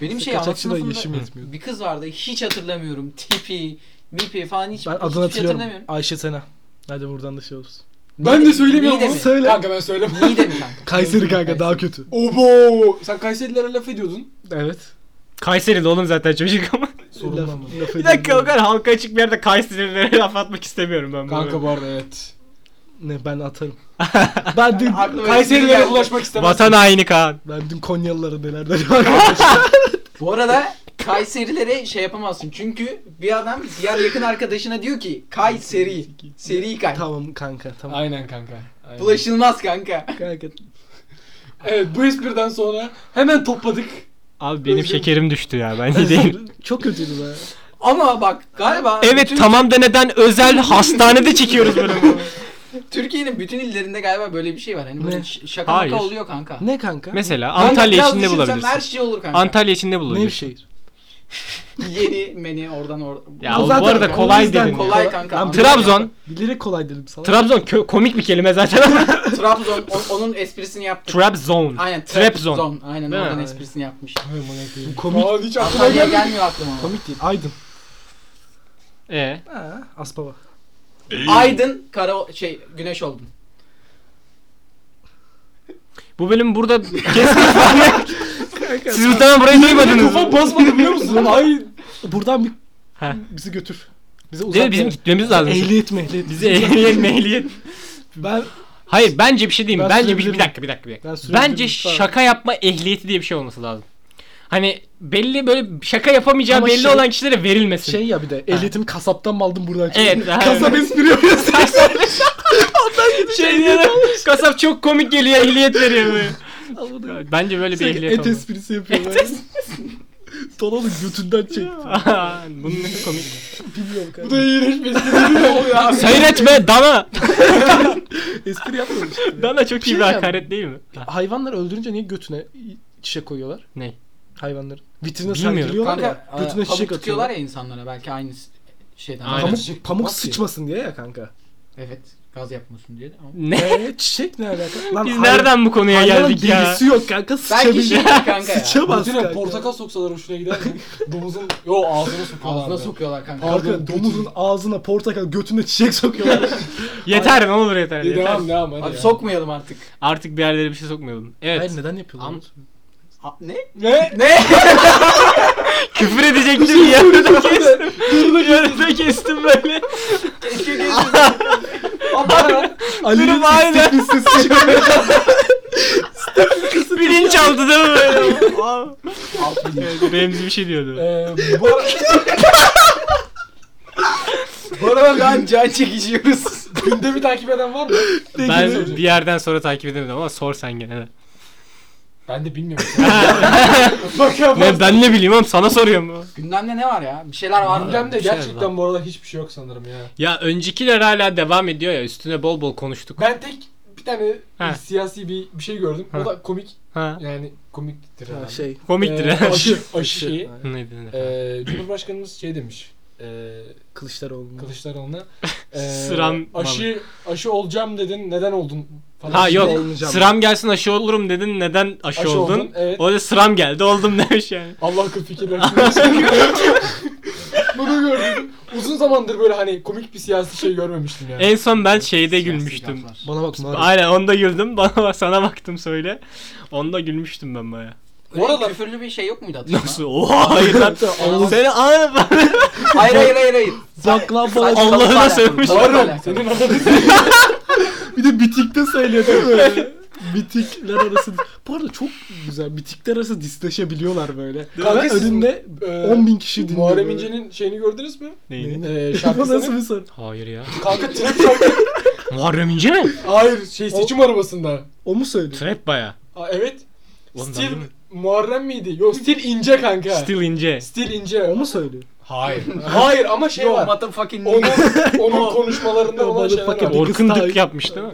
A: Benim şey
C: Kaçakçı
A: ana
C: da
A: sınıfında
C: yeşim yetmiyor.
A: bir kız vardı hiç hatırlamıyorum. Tipi, mipi falan hiç,
C: Ben
A: hiçbir
C: adını
A: şey
C: hatırlıyorum.
A: hatırlamıyorum.
C: Ayşe Sena. Hadi buradan da şey olsun.
D: Ben de söylemiyorum
A: Niğde
D: onu.
A: mi?
C: Söyle.
D: Kanka ben söylemem.
A: Niğde mi kanka?
C: Kayseri kanka daha kötü.
D: Obo! Sen Kayserililere laf ediyordun.
C: Evet.
B: Kayseri'de oğlum zaten çocuk ama.
D: Sorun
C: Laf-
D: ama.
C: laf
B: bir dakika o
C: edemiyorum.
B: kadar halka açık bir yerde Kayserililere laf atmak istemiyorum ben.
D: Kanka bu arada evet.
C: Ne ben atarım. ben dün
A: Aklıma-
D: Kayserililere bulaşmak istemez.
B: Vatan haini Kaan.
C: ben dün Konyalılara neler dedim arkadaşlar.
A: Bu arada Kayserililere şey yapamazsın. Çünkü bir adam diğer yakın arkadaşına diyor ki Kayseri. Seri kay.
C: tamam kanka tamam.
D: Aynen kanka. Aynen.
A: Bulaşılmaz kanka.
C: Kanka
D: Evet bu espriden sonra hemen topladık.
B: Abi benim
D: Özür-
B: şekerim düştü ya ben iyi değilim.
C: çok kötüydü be.
A: Ama bak galiba
B: Evet
A: bütün-
B: tamam da neden özel hastanede çekiyoruz böyle bunu?
A: Türkiye'nin bütün illerinde galiba böyle bir şey var. Hani
C: Ne?
A: böyle ş- şaka
B: Hayır.
A: maka oluyor kanka.
C: Ne kanka?
B: Mesela
A: Kanka
B: Antalya
A: biraz
B: içinde
A: düşünsem
B: bulabilirsin.
A: Her şey olur kanka.
B: Antalya içinde
C: Nevşehir.
B: bulabilirsin.
A: Yeni meni oradan oradan.
B: Ya o bu arada
C: o
B: kolay
C: yüzden
B: dedin ya.
A: Kolay kanka.
C: Ben
B: Trabzon.
C: bilerek kolay dedim sana.
B: Trabzon kö- komik bir kelime zaten.
A: Trabzon o- onun esprisini yaptı.
B: Trabzon.
A: Aynen
B: Trabzon.
A: Trabzon. Aynen
B: Değil mi?
A: oradan
B: Aynen.
A: esprisini yapmış.
C: Bu komik.
D: Komik. hiç aklıma
A: Antalya
D: gelmedi.
A: gelmiyor aklıma.
C: komik değil. Aydın.
B: E.
C: Ha, Aspava.
A: Aydın kara şey güneş oldun.
B: Bu bölüm burada kesin. Siz muhtemelen burayı duymadınız.
D: Kafa basmadı biliyor musun? Ay
C: Buradan bir
B: Ha.
C: bizi götür. Bize uzak.
B: Değil mi? Bizim
C: yere.
B: gitmemiz lazım.
C: Ehliyet mi ehliyet?
B: Bizi ehliyet mehliyet.
C: Ben
B: Hayır bence bir şey diyeyim.
C: Ben
B: bence bir,
C: sürebilirim.
B: bir dakika bir dakika. Bir dakika.
C: Ben sürebilirim,
B: bence
C: lütfen.
B: şaka yapma ehliyeti diye bir şey olması lazım. Hani belli böyle şaka yapamayacağı
C: Ama
B: belli
C: şey-
B: olan kişilere verilmesin.
C: şey ya bir de ehliyetimi kasaptan mı aldım buradan çıktım.
B: Evet, aynen.
C: Kasap espri yapıyorsun.
B: şey diye kasap çok komik geliyor ehliyet veriyor böyle. Bence böyle bir
C: Sürekli
B: ehliyet
C: et
B: olmalı.
C: esprisi yapıyor böyle. Dolanın götünden çektim.
B: Bunun ne komik.
C: Bilmiyorum
D: bu
C: kanka.
D: da iğrenç bir espri değil mi oluyor abi?
B: Şey Seyretme dana. şey.
C: Espri yapmamış. işte.
B: Dana çok iyi
C: Şey
B: bir
C: diyeceğim.
B: hakaret değil mi? Ha,
C: Hayvanları öldürünce niye götüne çiçek koyuyorlar?
B: Ne?
C: Hayvanları. Vitrine
B: Bilmiyorum.
C: sergiliyorlar
A: Kanka
C: ya. Götüne
A: e, pamuk
C: çiçek
A: tutuyorlar
C: atıyorlar.
A: ya insanlara belki aynı s- şeyden.
B: Aynen.
A: Pamuk-
C: Pamuk, pamuk
A: Nasıl ya?
C: sıçmasın diye ya kanka.
A: Evet gaz yapmasın diye de ama.
B: Ne?
C: Eee çiçek ne alaka? Lan
B: Biz
C: hay-
B: nereden bu konuya
C: hayvanın
B: geldik ya?
C: derisi yok kanka
A: Belki şey
C: sıçabilir.
A: kanka ya.
C: Sıçamaz
D: Götüne
C: kanka.
D: portakal soksalar hoşuna gider mi? Domuzun... Yo ağzına sokuyorlar.
A: Ağzına
D: be.
A: sokuyorlar kanka.
D: Pardon,
C: Kanka domuzun ağzına portakal götüne çiçek sokuyorlar.
B: Yeter ne olur yeter.
D: İyi,
B: yeter.
D: Devam devam hadi.
A: Abi
D: ya.
A: sokmayalım artık.
B: Artık bir yerlere bir şey sokmayalım. Evet.
C: Hayır neden yapıyorlar?
B: Am-
A: Ha, ne?
D: Ne?
A: Ne?
B: Küfür edecektim yarıda kestim. yarıda kestim böyle.
A: Keşke geçmiş.
C: Ali'nin
B: Durum aynı.
C: istekli sesi çıkıyor.
B: Bilinç aldı değil mi böyle? Aa. Evet, Remzi bir şey diyordu.
D: Eee bu ara... bu aralar
A: Şu an can çekişiyoruz.
D: gündemi takip eden var mı? şey
B: Ben bir yerden sonra takip edemedim ama sor sen gene. de.
D: Ben de bilmiyorum. Bak ya
B: Ne, ben ne bileyim oğlum sana soruyorum.
A: Gündemde ne var ya? Bir şeyler var mı?
D: Gündemde
B: Bir şey
D: gerçekten bu aralar hiçbir şey yok sanırım ya.
B: Ya öncekiler hala devam ediyor ya üstüne bol bol konuştuk.
D: Ben tek bir tane
B: Ha.
D: siyasi bir, bir şey gördüm.
B: Ha.
D: O da komik.
B: Ha.
D: Yani komiktir herhalde.
C: şey.
B: Komiktir
D: Ee,
B: ha.
D: aşı, aşı şeyi.
B: Neydi ne?
D: Ee, Cumhurbaşkanımız şey demiş. Ee,
C: Kılıçdaroğlu.
D: Kılıçdaroğlu'na. ee,
B: Sıram
D: aşı, aşı olacağım dedin. Neden oldun? Falan.
B: Ha
D: Aşı
B: yok
C: olmayacağım.
B: sıram gelsin aşı olurum dedin neden aşı,
D: Aşı
B: oldun?
D: oldun, evet.
B: O da sıram geldi oldum demiş yani.
D: Allah akıl fikir versin. Bunu gördüm. Uzun zamandır böyle hani komik bir siyasi şey görmemiştim
C: E,
D: yani.
B: En son ben şeyde gülmüştüm.
A: Laflar.
C: Bana bak Muharrem.
B: Aynen onda güldüm bana bak sana baktım söyle. Onda gülmüştüm ben baya.
A: Öyle
D: Oralar-
A: küfürlü bir şey yok muydu hatırlama?
B: Nasıl? Oha hayır lan. Seni anı
A: hayır hayır hayır hayır.
C: Baklava.
A: Saç-
B: Allah'ına
A: kalıpla alakalı,
B: sövmüş.
A: kalıpla
D: Oğlum,
A: alakalı.
D: senin adını
C: Bir de bitikte söylüyor değil mi? böyle? Bitikler arası. Bu arada çok güzel. Bitikler arası disleşebiliyorlar böyle.
D: Kanka
C: Ve
D: siz-
C: önünde
D: Ee,
C: 10 bin kişi dinliyor.
D: Muharrem
C: böyle.
D: İnce'nin şeyini gördünüz mü?
C: Neyini?
D: Ee,
C: Bu nasıl
D: şarkısını.
C: bir soru?
B: Hayır ya.
D: Kanka trap şarkı.
B: Muharrem İnce mi?
D: Hayır şey seçim arabasında.
C: O mu söylüyor?
B: Trap baya.
D: Aa, evet.
B: Oğlum ben
D: Stil
B: bilmiyorum.
D: Muharrem miydi? Yok Stil İnce kanka. Stil,
B: Still ince.
D: İnce.
C: O mu söylüyor?
D: Hayır. Hayır ama şey
A: Yo
D: var.
A: motherfucking
D: Onun, onun konuşmalarında
C: Yo,
D: olan şeyler
C: motherfucker.
D: var.
C: O-
B: Orkun
C: Kız
B: Dık
C: daha-
B: yapmış değil mi?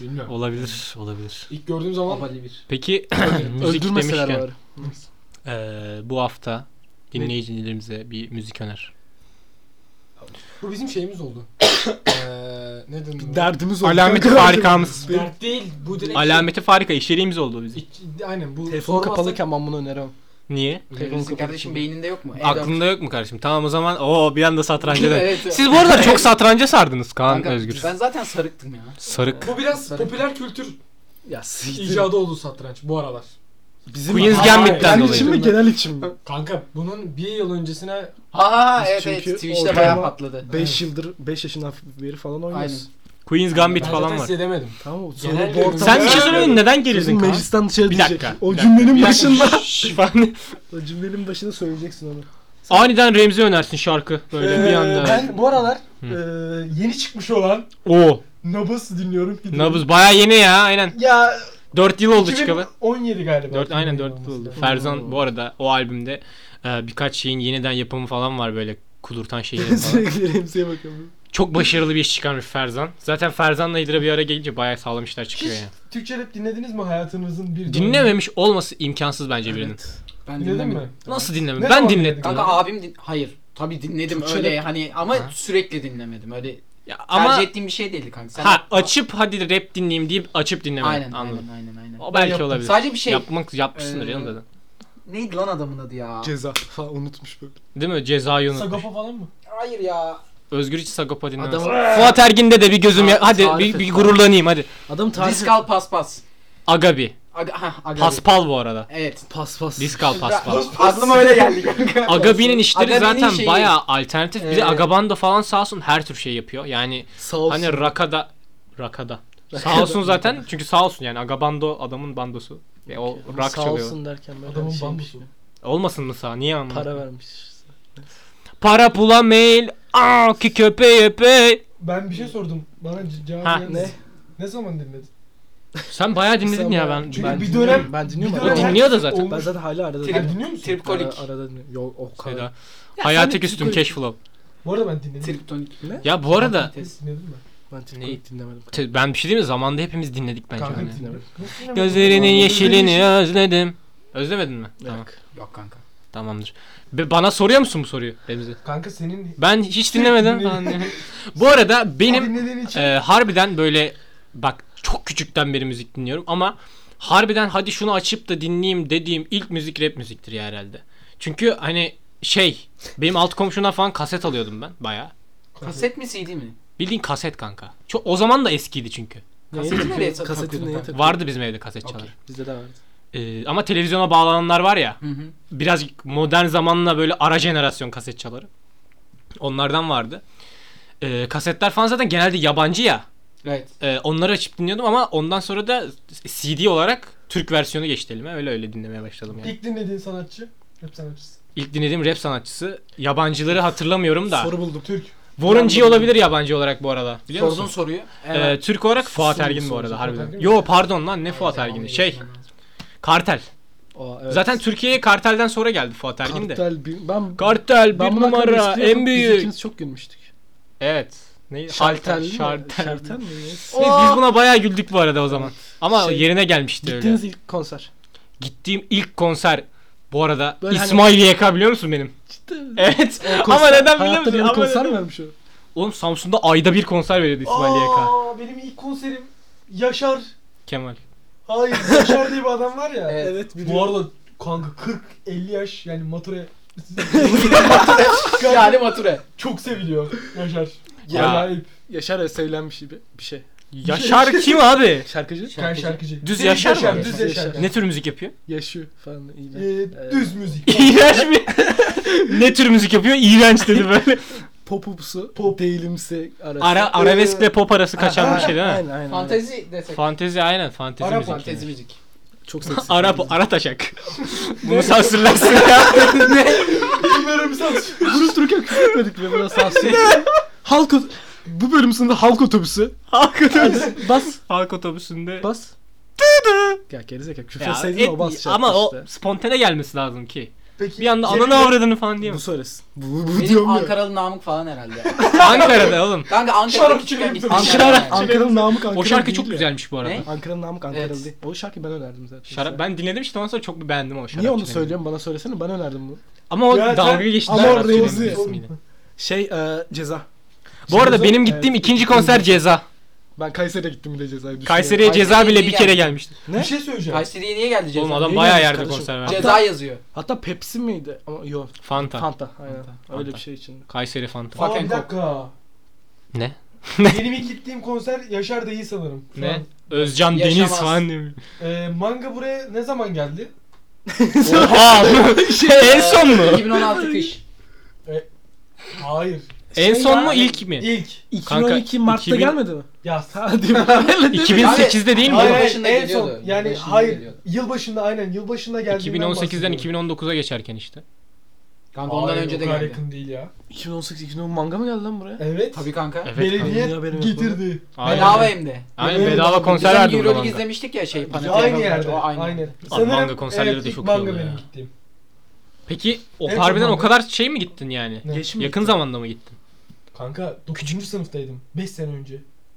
D: Bilmiyorum.
B: Olabilir, olabilir.
D: İlk gördüğüm zaman
A: Abali bir.
B: Peki müzik
C: Öldürmeseler
B: demişken
C: bari.
B: eee, Ee, bu hafta dinleyicilerimize bir müzik öner.
D: bu bizim şeyimiz oldu. Eee ne denir?
C: Derdimiz oldu.
B: Alameti farikamız.
D: Dert değil bu direkt.
B: Alameti farika içeriğimiz oldu bizim.
D: İç- Aynen bu
C: Telefon
D: sormazsak-
C: kapalıken ben bunu öneremem.
B: Niye?
A: Senin kardeşim beyninde yok mu? E
B: Aklında yok mu kardeşim? Tamam o zaman o bir anda satranca dön.
A: Evet.
B: Siz bu arada çok satranca sardınız Kaan
A: Kanka,
B: Özgür.
A: Ben zaten sarıktım ya.
B: Sarık.
D: Bu biraz
A: Ben-
D: popüler kültür
C: Ya siktir.
D: icadı oldu satranç bu aralar.
C: Bizim
B: Queen's Gambit'ten
C: Kendi
B: dolayı.
C: için mi genel için mi?
D: Kanka bunun bir yıl öncesine
A: Ha ha ha
C: Biz
A: evet evet
C: çünkü
A: Twitch'te
C: ortalama-
A: bayağı patladı.
C: 5 yıldır 5 yaşından beri falan oynuyoruz.
A: Aynen.
B: Queen's Gambit
D: ben
B: falan
D: zaten
B: var.
D: hissedemedim.
C: Tamam o
D: Genel
C: sonra bu
D: görüyorum.
C: ortam-
B: Sen bir şey söylemedin neden gerildin
C: Sözün
B: Kaan?
C: meclisten dışarı
B: Bir
C: diyecek.
B: dakika,
C: O
B: bir
C: cümlenin
B: dakika.
C: başında.
B: Şşş falan.
C: O cümlenin başında söyleyeceksin onu.
B: Aniden Remzi önersin şarkı böyle bir
D: Ee,
B: anda.
D: Ben bu aralar
B: Hı.
D: eee, yeni çıkmış olan
B: Oo.
D: Nabız'ı dinliyorum. Gidiyorum.
B: Nabız baya yeni ya aynen.
D: Ya
B: 4 yıl oldu
D: 2017
B: çıkalı.
D: 17 galiba.
B: 4 aynen 4 yıl oldu. Ferzan bu arada o albümde e, birkaç şeyin yeniden yapımı falan var böyle kudurtan şeyleri falan.
C: Sürekli Remzi'ye bakıyorum.
B: Çok başarılı bir iş çıkarmış Ferzan. Zaten Ferzan'la Hidra bir ara gelince bayağı sağlam işler çıkıyor
D: Hiç
B: yani.
D: Türkçe rap dinlediniz mi hayatınızın bir
B: Dinlememiş olması imkansız bence birinin.
A: Ben
D: Dinledin
A: dinlemedim.
D: mi?
B: Nasıl dinlemedim?
D: Ne
B: ben
D: zaman
B: dinlettim.
D: dinledin?
A: Kanka
B: lan.
A: abim din- hayır. Tabi dinledim
C: Türkçe
A: öyle hani ama
B: Ha.
A: sürekli dinlemedim. Öyle
B: Ya ama
A: tercih ettiğim bir şey değildi kanka. Sen
B: ha açıp hadi rap dinleyeyim deyip açıp dinlemedim.
A: Aynen,
B: Anladım.
A: aynen aynen aynen.
B: O belki
C: yaptım.
B: olabilir.
A: Sadece bir şey.
B: Yapmak yapmışsındır
A: Ee,
B: yanında da.
A: Neydi lan adamın adı ya?
C: Ceza falan unutmuş böyle.
B: Değil mi? Cezayı unutmuş.
D: Sagopa falan mı?
A: Hayır ya.
B: Özgür hiç Sagopa dinlemez.
C: Adamı-
B: Fuat Ergin'de de bir gözüm ya.
A: Tarif
B: Hadi
A: et,
B: bir,
A: tarif
B: bir
A: et.
B: gururlanayım hadi.
C: Adam tarif
A: Diskal paspas.
B: Agabi.
A: Aga, ha, aga
B: Paspal bu arada.
A: Evet.
C: pas pas.
B: Diskal paspal.
A: Aklıma öyle geldi kanka.
B: Agabi'nin işleri
A: Agabi'nin
B: zaten
A: şeyi-
B: bayağı alternatif. Bir de
A: Ee,
B: Agabando falan sağ olsun her tür şey yapıyor. Yani
C: Sağ olsun.
B: hani Raka'da Raka'da. Sağ olsun zaten çünkü sağ olsun yani Agabando adamın bandosu. E, o rock
C: Sağ
B: çalıyor.
C: olsun derken böyle
D: Adamın
C: şeymiş
D: bambusu.
C: ya.
B: Olmasın mı sağ? Niye anlamadım?
C: Para
B: Para,
C: vermiş.
B: pula mail. Aa ki köpeği öpey.
D: Ben bir şey sordum. Bana ce- cevap
B: Ha.
D: gelmedi.
C: Ne?
D: Ne zaman dinledin?
B: Sen bayağı dinledin
C: Sen
B: ya
C: bayağı-
B: ben.
D: Çünkü
B: ben
D: bir
C: dinliyorum,
D: dönem-
C: Ben
D: Bir
C: dinliyorum.
D: dönem
C: arada.
B: dinliyor da
D: herkes
B: zaten.
D: olmuş.
C: Ben zaten hala arada
D: Ya
A: Trip-
C: dinliyorum.
D: dinliyor musun?
A: Tripkolik.
C: Ara, arada dinliyorum. Yo o kadar.
B: Seda. Hayat
C: sen de
B: üstüm
C: Türk-
B: keş flow.
D: Bu arada ben dinledim.
A: Triptonik.
B: Ya bu arada
A: Test.
D: Dinledin mi?
C: Ben
B: Neyi?
C: Tripkolik dinlemedim.
B: te- ben bir şey diyeyim mi? Zamanda hepimiz dinledik bence.
D: Kanka
B: hani.
D: dinlemedim. Nasıl dinlemedin?
B: Gözlerinin
D: Gözlerinin
B: yeşilini özledim. Özlemedin mi? Tamam.
C: Yok.
A: Yok kanka.
B: Tamamdır. Be- bana soruyor musun bu soruyu Remzi?
D: Kanka senin
B: Ben hiç dinlemedim.
D: Dinledim.
B: falan. bu arada benim
D: dinlediğin için
B: e, harbiden böyle bak çok küçükten beri müzik dinliyorum ama harbiden hadi şunu açıp da dinleyeyim dediğim ilk müzik rap müziktir ya herhalde. Çünkü hani şey benim alt komşumdan falan kaset alıyordum ben baya.
A: Kaset mi CD mi?
B: Bildiğin kaset kanka. Çok, o zaman da eskiydi çünkü.
C: Neye
A: Kaseti nereye
C: takıyor? Kaseti
A: takıyorsun
C: neye
A: kanka?
C: takıyor?
B: Vardı bizim evde kaset çalar.
A: Okey.
C: Bizde de vardı.
B: E, ama televizyona bağlananlar var ya.
A: Hı hı.
B: biraz modern zamanla böyle ara jenerasyon kaset çaları. Onlardan vardı. Ee, kasetler falan zaten genelde yabancı ya.
A: Evet.
B: Ee, onları açıp dinliyordum ama ondan sonra da CD olarak Türk versiyonu geçti elime. Öyle öyle dinlemeye başladım yani.
D: ilk dinlediğin sanatçı hep sanatçısı.
B: İlk dinlediğim rap sanatçısı. Yabancıları hatırlamıyorum da.
C: Soru buldum.
D: Türk.
B: Warren G olabilir yabancı olarak bu arada. Biliyor
A: Sordun
B: musun?
A: soruyu.
B: Ee,
A: Evet.
B: Türk olarak Fuat
C: Soru-
B: Ergin bu
C: soru-
B: arada
C: Fuat
B: harbiden.
D: Ergin mi?
B: Yo pardon lan ne Fuat Ergin'i? Şey Kartel.
C: Aa, evet.
B: Zaten Türkiye'ye Kartel'den sonra geldi Fuat Ergin de.
C: Kartel bir, ben
B: Kartel bir
C: ben bunun hakkında
B: numara
C: istiyordum.
B: en
C: Biz
B: büyük.
C: ikimiz çok gülmüştük.
B: Evet. Neydi?
C: Şartel
B: Halter,
C: mi?
B: şartel.
C: Şartel mi?
B: Biz, biz buna bayağı güldük bu arada o zaman. Ama
C: Şey,
B: yerine gelmişti öyle.
C: Gittiğiniz ilk konser.
B: Gittiğim ilk konser bu arada
C: Böyle hani-
B: İsmail YK biliyor musun benim? Evet.
C: O konser-
B: Ama neden biliyor
C: Hayatta
B: musun?
C: bir
B: Ama
C: konser
B: neden-
C: vermiş o.
B: Oğlum Samsun'da ayda bir konser veriyordu İsmail YK.
D: Aa, benim ilk konserim Yaşar.
B: Kemal.
D: Hayır Yaşar diye bir adam var ya.
A: Evet.
C: Evet
D: Bu
C: biliyorum.
D: arada kanka 40-50 yaş yani mature
A: Yani mature.
D: çok seviliyor Yaşar.
B: Ya.
D: Acayip.
C: Yaşar Özsevlenmiş gibi bir şey.
B: Yaşar kim abi?
C: Şarkıcı.
D: Şarkı- şarkıcı.
B: Düz yaşar mı?
D: Düz
C: Düz
D: yaşar.
C: yaşar.
B: Ne tür müzik yapıyor?
C: Yaşıyor falan. iyi
D: Ee,
C: de.
D: düz müzik.
B: İğrenç mi? ne tür müzik yapıyor? İğrenç dedi böyle.
C: Popupsu, pop değilimsi arası. Ee,
B: Ara, arabeskle pop arası kaçan bir şey değil mi?
C: Aynen aynen. aynen.
A: Fantezi desek.
B: Fantezi aynen fantezi
D: Arap
B: müzik.
A: Fantezi müzik.
C: Çok seksi.
B: Arap, ara taşak. Bunu sansürlersin ya.
D: Bunları bir sat.
C: Bunu dururken küfür etmedik mi? Biraz sansür. halk ot- bu bölüm sınırında halk otobüsü.
B: Halk otobüsü.
C: Bas.
B: Halk otobüsünde.
C: Bas. Ya gerizekalı küfür
B: Ya,
C: etseydin
B: et-
C: o bas şey
B: ama
C: şarkı
B: o
C: işte. Şey-
B: spontane gelmesi lazım ki.
D: Peki.
B: Bir anda
D: Cemil
B: ananı
D: Bey-
B: avradını falan
C: Bu
B: diyemez.
C: söylesin. Bu, bu
A: Benim
C: diyorum ya.
A: Ankaralı Namık falan herhalde.
B: Ankara'da oğlum.
A: Kanka Ankara'da
D: Şarap
A: küçükken
D: içelim.
A: gittim.
C: Ankara,
A: yani.
C: Ankara'nın namık Ankara
B: O şarkı
C: değil
B: çok
C: ya.
B: güzelmiş bu arada.
A: Ne?
C: Ankara'nın namık Ankaralı
A: Evet.
C: değil. O şarkıyı ben önerdim zaten.
B: Şarap ben dinledim işte ondan sonra çok beğendim o şarkı.
C: Niye onu söylüyorum bana söylesene ben önerdim bunu.
B: Ama o
D: Ya,
B: dalga
D: sen-
B: geçti.
C: Ama
B: Şarap
C: orada
B: söylemenin
C: yazıyor.
B: ismiyle.
C: Şey e, ceza.
B: Bu arada
C: Ceza-
B: benim gittiğim
C: Evet.
B: ikinci konser Ceza.
C: Ben Kayseri'ye gittim bir de cezayı düşünüyorum.
B: Kayseri'ye Ceza
A: Kayseri'ye
B: bile
A: iyi
B: bir kere
A: geldi.
B: gelmişti.
D: Bir şey söyleyeceğim.
A: Kayseri'ye niye geldi ceza?
B: Oğlum adam
C: iyi
B: bayağı
C: gelmiş
B: yerde
C: kardeşim.
B: konser verdi.
A: Ceza yazıyor.
C: Hatta Pepsi miydi? Ama yok.
B: Fanta.
C: Fanta. Aynen.
B: Fanta.
C: Öyle
B: Fanta.
C: bir şey içinde.
B: Kayseri Fanta.
D: Aa,
A: Fucking
D: bir dakika.
B: Ne?
D: Benim ilk gittiğim konser Yaşar da iyi sanırım. Şu
B: Ne?
D: an.
B: Özcan Deniz
A: Yaşamaz.
B: falan diyor.
D: Ee, manga buraya ne zaman geldi?
B: Oha!
A: Ee,
B: şey, en son mu?
A: 2016 kış.
D: Hayır.
B: en
C: Şey
B: son
C: ya,
B: mu ilk mi?
D: İlk.
C: 2012
B: Kanka,
C: Mart'ta
B: 2000
C: gelmedi mi?
D: Yaz.
C: Hadi be.
B: 2008'de değil mi?
A: Hayır,
B: bu?
A: hayır. Yılbaşında
D: en
A: geliyordu.
D: son. Yani
A: Yılbaşında
D: hayır.
A: geliyordu.
D: Yılbaşında aynen yılbaşında geldiğinden
B: 2018'den
D: bahsediyorum.
B: 2019'a geçerken işte.
A: Kanka ondan
D: Hayır,
A: önce
D: o
A: de
D: kadar
A: geldi.
D: yakın değil ya.
C: 2018 2010 manga mı geldi lan buraya?
D: Evet.
A: Tabii kanka.
B: Evet.
D: Belediye
C: kanka. Ya benim
D: getirdi.
B: Aynen.
A: Bedava hem de.
B: Aynen
D: Bedava-
B: bedava konser
A: Biz
B: verdi
A: hani
B: bu
A: Euroleague
B: zamanda.
A: izlemiştik ya şey.
D: Aynı,
A: Panathinaikos maçı,
D: yerde.
A: o
D: Aynen.
A: Aynı.
B: manga konserleri de
D: ilk
B: çok iyi
D: manga
B: oluyor
D: benim
B: ya.
D: gittiğim.
B: Peki o
D: Evet,
B: harbiden o
D: manga.
B: kadar şey mi gittin yani?
D: Ne?
C: Geç mi?
B: Yakın zamanda mı gittin?
D: Kanka 9. sınıftaydım. 5 sene önce.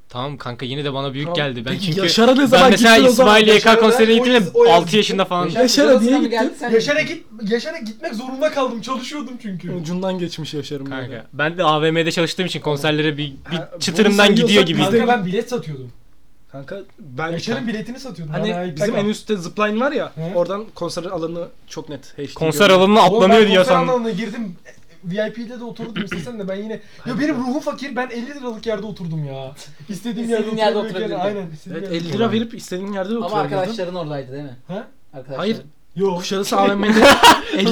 B: Tamam kanka yine de bana büyük
C: Tamam.
B: geldi. Ben
C: Peki
B: çünkü
C: Yaşar'a ne zaman
B: ben mesela
C: gittin o zaman?
B: İsmail YK
D: Yaşar'a
B: konserine
D: ben
B: gittim
D: o- o yaz
B: 6
D: gittim.
B: yaşında falan.
C: Yaşar- Yaşar'a
A: Cezasına
C: niye
A: mı
C: gittin?
A: geldi, sen mi
D: Yaşar'a
A: gittin?
D: git Yaşar'a gitmek zorunda kaldım. Çalışıyordum çünkü.
C: Ucundan geçmiş Yaşar'ım. böyle.
B: Kanka ben de AVM'de çalıştığım için konserlere bir,
C: Ha,
B: bir
C: bunu
B: çıtırımdan
C: sayıyorsak
B: gidiyor
C: biz
B: gibi.
C: de-
D: Kanka ben bilet satıyordum.
C: Kanka ben
D: Yaşar'ın biletini satıyordum.
C: Hani
D: Ben
C: bizim
D: ayakta
C: en üstte zipline var ya.
D: He.
C: Oradan konser alanı çok net. HD
B: Konser
C: görünüyor.
B: alanına
D: Oğlum ben
B: atlanıyor diyor
D: konser
B: sandım.
D: alanına girdim. VIP'de de oturdum istesen de ben yine... Ya benim ruhum fakir ben 50 liralık yerde oturdum ya. İstediğim yerde
A: İstediğin yerde
D: oturabiliyorum.
A: oturabildin.
D: Aynen. istediğim
C: Evet
D: yerde
C: 50 lira verip istediğin yerde oturuyordun.
A: Ama arkadaşların oradaydı değil mi?
D: Ha?
A: Arkadaşlar.
C: Hayır.
D: Yok.
C: Kuşadası AVM'de 50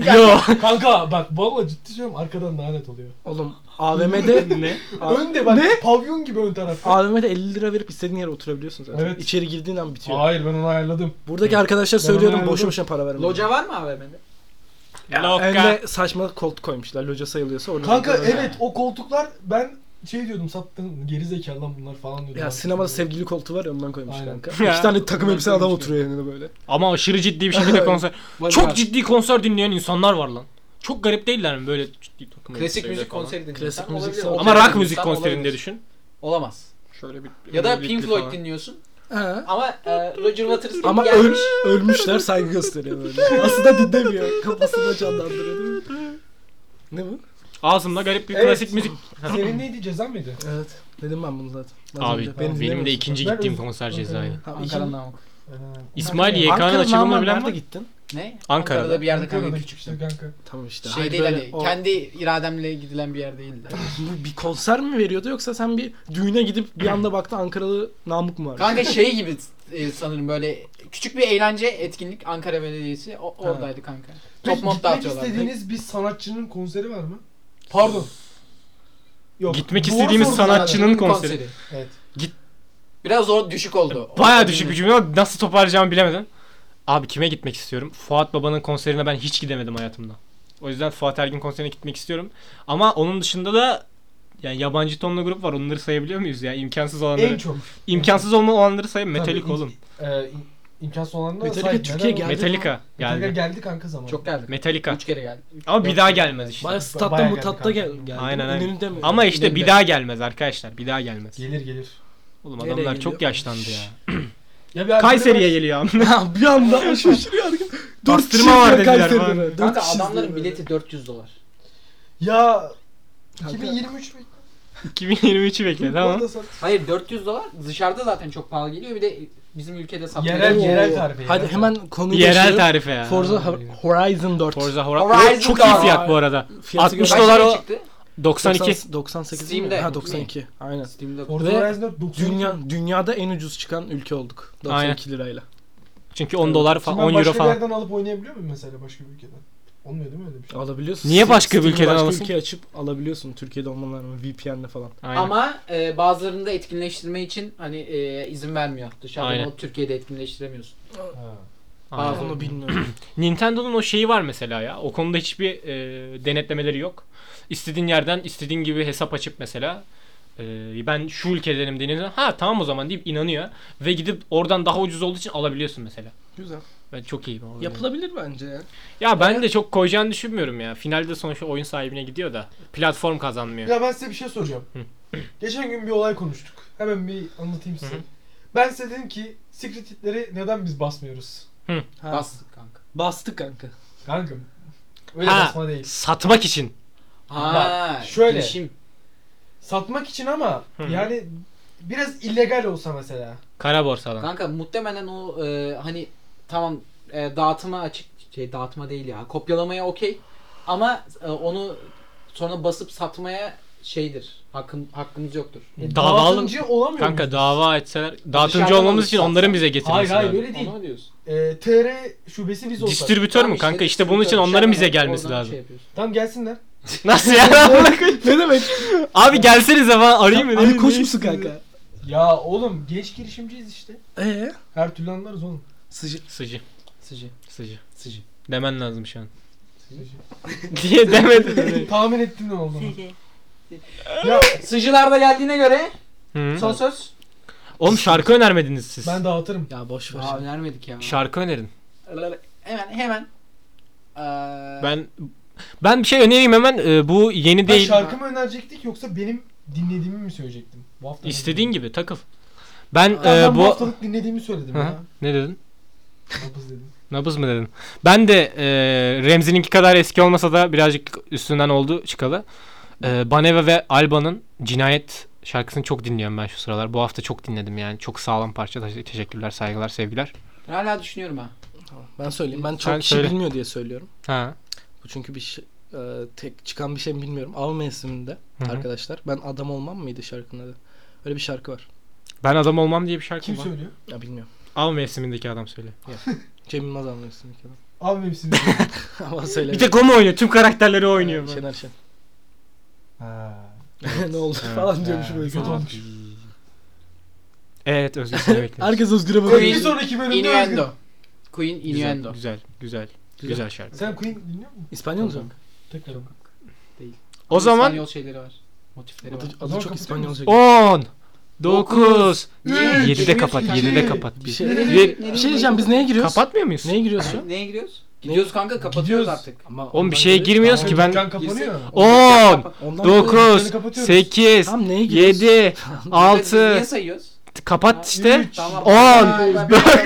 C: lira.
B: Yo.
D: Kanka bak valla ciddi söylüyorum arkadan lanet oluyor.
C: Oğlum AVM'de
B: ne?
C: A-
D: Önde bak
C: Ne?
D: pavyon gibi ön tarafta.
C: AVM'de 50 lira verip istediğin yere oturabiliyorsun zaten.
D: Evet.
C: İçeri girdiğin an bitiyor.
D: Hayır ben onu ayarladım.
C: Buradaki arkadaşlar
D: Ben
C: söylüyorum
D: onu
C: boşu
D: ayarladım.
C: boşuna para verme.
A: Loca var mı AVM'de?
B: Loka.
C: Önüne saçma koltuk koymuşlar. Loca sayılıyorsa orada.
D: Kanka
C: oturabiliyorsun.
D: evet o koltuklar ben şey diyordum sattın geri zekalı lan bunlar falan diyordum.
C: Ya sinemada sevgili koltuğu var ya ondan koymuş
D: Aynen.
C: kanka.
B: Ya.
C: İki tane takım
D: Ben
C: elbise adam
D: koymuşum.
C: oturuyor yanında böyle.
B: Ama aşırı ciddi bir şekilde konser.
A: Var, var.
B: Çok ciddi konser dinleyen insanlar var lan. Çok garip değiller mi böyle ciddi takım
A: Klasik
B: elbiseyle
A: müzik
B: falan.
A: konseri dinliyorsan
C: Klasik müzik
A: olabilir.
C: salonu.
B: Ama
A: Otel
B: rock müzik
A: dinliyorsan
B: konserinde
A: olabilir.
B: düşün.
A: Olamaz.
B: Şöyle bir
A: Ya da
B: müzikli
A: Pink Floyd
B: falan.
A: dinliyorsun.
C: Ha.
A: Ama e, Roger Waters
C: Ama
A: gelmiş.
C: ölmüş, ölmüşler saygı gösteriyor böyle. Aslında dinlemiyor. Kafasında canlandırıyor değil mi? Ne bu?
B: Ağzımda garip bir
D: Evet.
B: klasik müzik.
D: Senin neydi cezan mıydı?
C: Evet. Dedim ben bunu zaten. Az
B: Abi
C: önce.
D: beni
B: benim de
C: dinlemiyorsun.
B: ikinci
D: Ben
B: gittiğim
D: özür-
B: konser
D: Özür
B: cezayı.
D: dilerim.
C: Ha,
A: Ankara'nın
C: ikinci-
A: namık.
D: Ee,
B: İsmail
D: Ankara'da-
B: YK'nın
C: Ankara'nın
B: açılımını
C: namı
B: bilen var
C: nerede
B: mı?
C: gittin?
A: Ne?
B: Ankara'da.
A: bir yerde kanka
D: Ankara'da
A: küçüktüm.
D: kanka.
C: Tamam işte.
A: Şey
C: Hayır,
A: değil
C: böyle
A: hani
C: o-
A: kendi irademle gidilen bir yer değildi.
C: Bu bir konser mi veriyordu yoksa sen bir düğüne gidip bir anda baktın Ankaralı namık mı var?
A: Kanka şey gibi e, sanırım böyle küçük bir eğlence etkinlik Ankara Belediyesi o, oradaydı kanka. Top
D: Peki
A: mop
D: gitmek
A: dağıtıyorlar.
D: istediğiniz bir sanatçının konseri var mı? Pardon. Yok.
B: Gitmek
D: Doğru
B: istediğimiz
D: sordun
B: sanatçının
D: herhalde.
B: konseri.
D: Evet.
A: Biraz o düşük oldu.
B: Baya
A: Orada
B: düşük bir
A: bilmiyorum.
B: cümle ama nasıl toparlayacağımı bilemedim. Abi kime gitmek istiyorum? Fuat Baba'nın konserine ben hiç gidemedim hayatımda. O yüzden Fuat Ergin konserine gitmek istiyorum. Ama onun dışında da yani yabancı tonlu grup var. Onları sayabiliyor muyuz ya? İmkansız olanları.
D: En çok.
B: İmkansız olma olanları sayın. Metallica
D: Tabii,
B: oğlum.
D: E, im- imkansız olanlar
C: Metallica
D: sahip.
C: Türkiye
D: Neden?
C: geldi.
B: Metallica
D: Metallica
B: geldi.
D: geldi kanka zaman.
A: Çok geldi.
B: Metallica.
A: Üç kere geldi. Üç-
B: Ama bir
A: dört
B: daha
A: kere
B: gelmez işte.
C: Baya statta
D: Bayağı
C: mutatta
D: geldi
C: gel.
D: kanka.
C: geldi.
B: Aynen, aynen.
C: Önünde mi?
B: Ama işte bir
A: Benim de.
B: daha gelmez arkadaşlar. Bir daha gelmez.
D: Gelir gelir.
B: Oğlum
C: Nereye
B: adamlar çok
C: geliyor?
B: yaşlandı ya.
D: Ya bir arkadaş-
B: Kayseri'ye geliyor.
C: Ya bir anda şaşırıyor herkes. Dört
B: Bastırma
C: kişi
B: var
C: var
B: dediler
C: Kayseri'de.
B: bana.
C: Dört
A: Kanka
C: kişi
A: adamların
C: izliyor
A: bileti 400 dolar.
D: Ya
C: Kanka.
D: 2023 mi?
B: 2023'ü bekle E, tamam.
D: Orada sat-
A: Hayır 400 dolar dışarıda zaten çok pahalı geliyor bir de bizim ülkede şey. satıyor.
C: böyle.
D: Yerel-
C: Oo.
D: yerel tarife,
C: Hadi
D: yerel
C: hemen konuyu
B: Yerel
C: geçelim.
B: tarife ya.
C: Forza Ho- Horizon 4.
B: Forza Horizon.
A: Horizon
B: Çok iyi
A: Dawn.
B: fiyat bu arada.
C: Fiyatı
B: 60
C: göre-
B: dolar o-
A: çıktı?
B: 92.
C: 98
A: Steam'de.
C: mi? Ha 92. Aynen.
A: Steam'de
D: Forza
C: Ve
D: Horizon 4 90
C: Dünya dünyada en ucuz çıkan ülke olduk. 92 lirayla.
B: Çünkü 10 dolar
D: Şimdi
B: falan
D: ben
B: 10
D: başka
B: euro
D: bir
B: falan.
D: yerden alıp oynayabiliyor muyum mesela başka bir ülkeden? Olmuyor değil mi öyle bir şey?
C: Alabiliyorsun.
B: Niye
C: Steam-
B: başka bir
C: Steam'i
B: ülkeden
C: başka
B: alasın?
C: ülkeye açıp alabiliyorsun Türkiye'de olman lazım VPN'le falan.
B: Aynen.
A: Ama e, bazılarını da etkinleştirme için hani e, izin vermiyor. Dışarıda
B: Aynen.
A: mod Türkiye'de etkinleştiremiyorsun.
D: Ha.
B: Aynen.
A: Bazı-
C: Onu bilmiyorum.
B: Nintendo'nun o şeyi var mesela ya. O konuda hiçbir e, denetlemeleri yok. İstediğin yerden istediğin gibi hesap açıp mesela e, ben şu ülkelerim deniyor. Ha tamam o zaman deyip inanıyor ve gidip oradan daha ucuz olduğu için alabiliyorsun mesela.
C: Güzel.
B: Ben çok iyiyim. orada.
C: Yapılabilir bence ya.
B: Ya ben de çok koyacağını düşünmüyorum ya. Finalde sonuçta oyun sahibine gidiyor da platform kazanmıyor.
D: Ya ben size bir şey soracağım.
B: Hı.
D: Geçen gün bir olay konuştuk. Hemen bir anlatayım size.
B: Hı hı.
D: Ben size dedim ki Secret Hitler'i neden biz basmıyoruz?
C: Ha.
A: Bas kanka.
C: Bastık kanka.
D: Kanka öyle
B: Ha.
D: basma değil.
B: Satmak için.
A: Ha,
D: şöyle.
A: girişim.
D: Satmak için ama
B: Hı.
D: yani biraz illegal olsa mesela.
B: Kara borsadan.
A: Kanka muhtemelen o e, hani tamam e, dağıtıma açık şey dağıtma değil ya. Kopyalamaya okey ama e, onu sonra basıp satmaya şeydir. Hakkım hakkımız yoktur.
D: E,
B: Davalı-
D: Dağıtıcı olamıyor
B: Kanka
D: muyuz?
B: dava etseler dağıtımcı
A: Dışarıdan
B: olmamız
A: alıp
B: için
A: satsa.
B: onların bize getirmesi
D: Hayır, hayır,
B: lazım.
D: öyle değil.
A: Onu mu diyorsun?
D: E, TR şubesi biz olsak.
B: Distribütör
A: Tamam
B: mü
A: işte,
B: kanka? İşte bunun için
C: şey
A: dışarıdan
B: onların bize
A: alıp
B: gelmesi
A: oradan
B: lazım.
A: şey yapıyorsun.
D: Tamam gelsinler.
B: Nasıl ya? ne demek? Abi gelsenize falan arayayım mı?
C: Abi koç musun kanka?
D: Ya oğlum genç girişimciyiz işte.
C: Ee?
D: Her türlü anlarız oğlum.
C: Sıcak.
B: Sıcı.
A: Sıcı.
B: Sıcı.
A: Sıcı.
B: Demen lazım şu an. Diye demedi.
D: Tahmin ettin ne oldu?
A: Ya sıcılar da geldiğine göre
B: Hı.
A: son söz.
B: Oğlum şarkı önermediniz siz.
D: Ben dağıtırım.
C: Ya boş ver.
A: Aa, önermedik ya.
B: Şarkı önerin.
A: Hemen hemen. Ee,
B: Ben ben bir şey önereyim hemen. Ee, bu yeni
D: Ben
B: değil.
D: şarkı mı önerecektik yoksa benim dinlediğimi mi söyleyecektim? Bu hafta
B: İstediğin gibi takıl. Ben
D: Ben,
B: e,
D: ben bu...
B: bu
D: haftalık dinlediğimi söyledim
B: Hı hı.
D: ya.
B: ne dedin?
D: Nabız dedim.
B: Nabız mı dedin? Ben de e, Remzi'ninki kadar eski olmasa da birazcık üstünden oldu çıkalı. E, Baneva ve Alba'nın Cinayet şarkısını çok dinliyorum ben şu sıralar. Bu hafta çok dinledim yani. Çok sağlam parça. Te- Teşekkürler, saygılar, sevgiler.
A: hala düşünüyorum ha.
C: Tamam, Ben söyleyeyim. Ben
B: Sen
C: çok kişi
B: söyle.
C: bilmiyor diye söylüyorum.
B: Ha.
C: Bu çünkü bir şey, e, tek çıkan bir şey mi bilmiyorum. Av mevsiminde
B: Hı hı.
C: arkadaşlar. Ben adam olmam mıydı şarkının adı? Öyle bir şarkı var.
B: Ben adam olmam diye bir şarkı
D: Kim
B: var.
D: söylüyor?
C: Ya bilmiyorum.
B: Av mevsimindeki adam söyle.
C: Cem Yılmaz av mevsimindeki adam.
D: Abi hepsini.
C: Ama söyle.
B: Bir tek o mu oynuyor? Tüm karakterleri o oynuyor. mu?
C: Şener Şen.
D: ha.
C: ne oldu
B: Evet.
C: falan diyormuş böyle.
D: şey Kötü olmuş.
B: Evet Özgür seni bekliyoruz.
C: Herkes özgüre
D: Bir
C: bakıyor.
A: Queen-
D: sonraki bölümde Özgür.
A: Innuendo. Queen
B: Güzel,
A: Innuendo.
B: güzel, güzel,
C: Güzel.
B: güzel şarkı.
D: Sen Queen dinliyor musun?
C: İspanyolca mı?
D: Tekrar.
B: O zaman
A: İspanyol şeyleri var. Motifleri var.
C: Adı,
D: O
C: adı
D: zaman
C: çok
D: kapatıyor
C: İspanyolca.
B: 10 9
D: Üç,
B: 7'de kapat,
D: iki,
B: 7'de
D: bir.
B: kapat.
C: Bir şey,
B: Bir-
C: bir şey diyeceğim biz neye giriyoruz?
B: Kapatmıyor muyuz?
C: Neye giriyoruz şu an?
A: Neye giriyoruz? Gidiyoruz kanka kapatıyoruz
D: Gidiyoruz.
A: artık.
C: Ama
B: Oğlum bir şeye girmiyoruz ki ben.
D: Dükkan kapanıyor.
A: Girsin.
B: 10
C: Ondan sonra-
B: 9
D: kapatıyoruz.
B: 8
C: Tamam neye giriyoruz?
B: 7
A: Niye
B: 6
A: sayıyoruz?
B: kapat işte.
D: Üç.
A: Tamam.
B: On,
A: Aa, ben-
B: dört,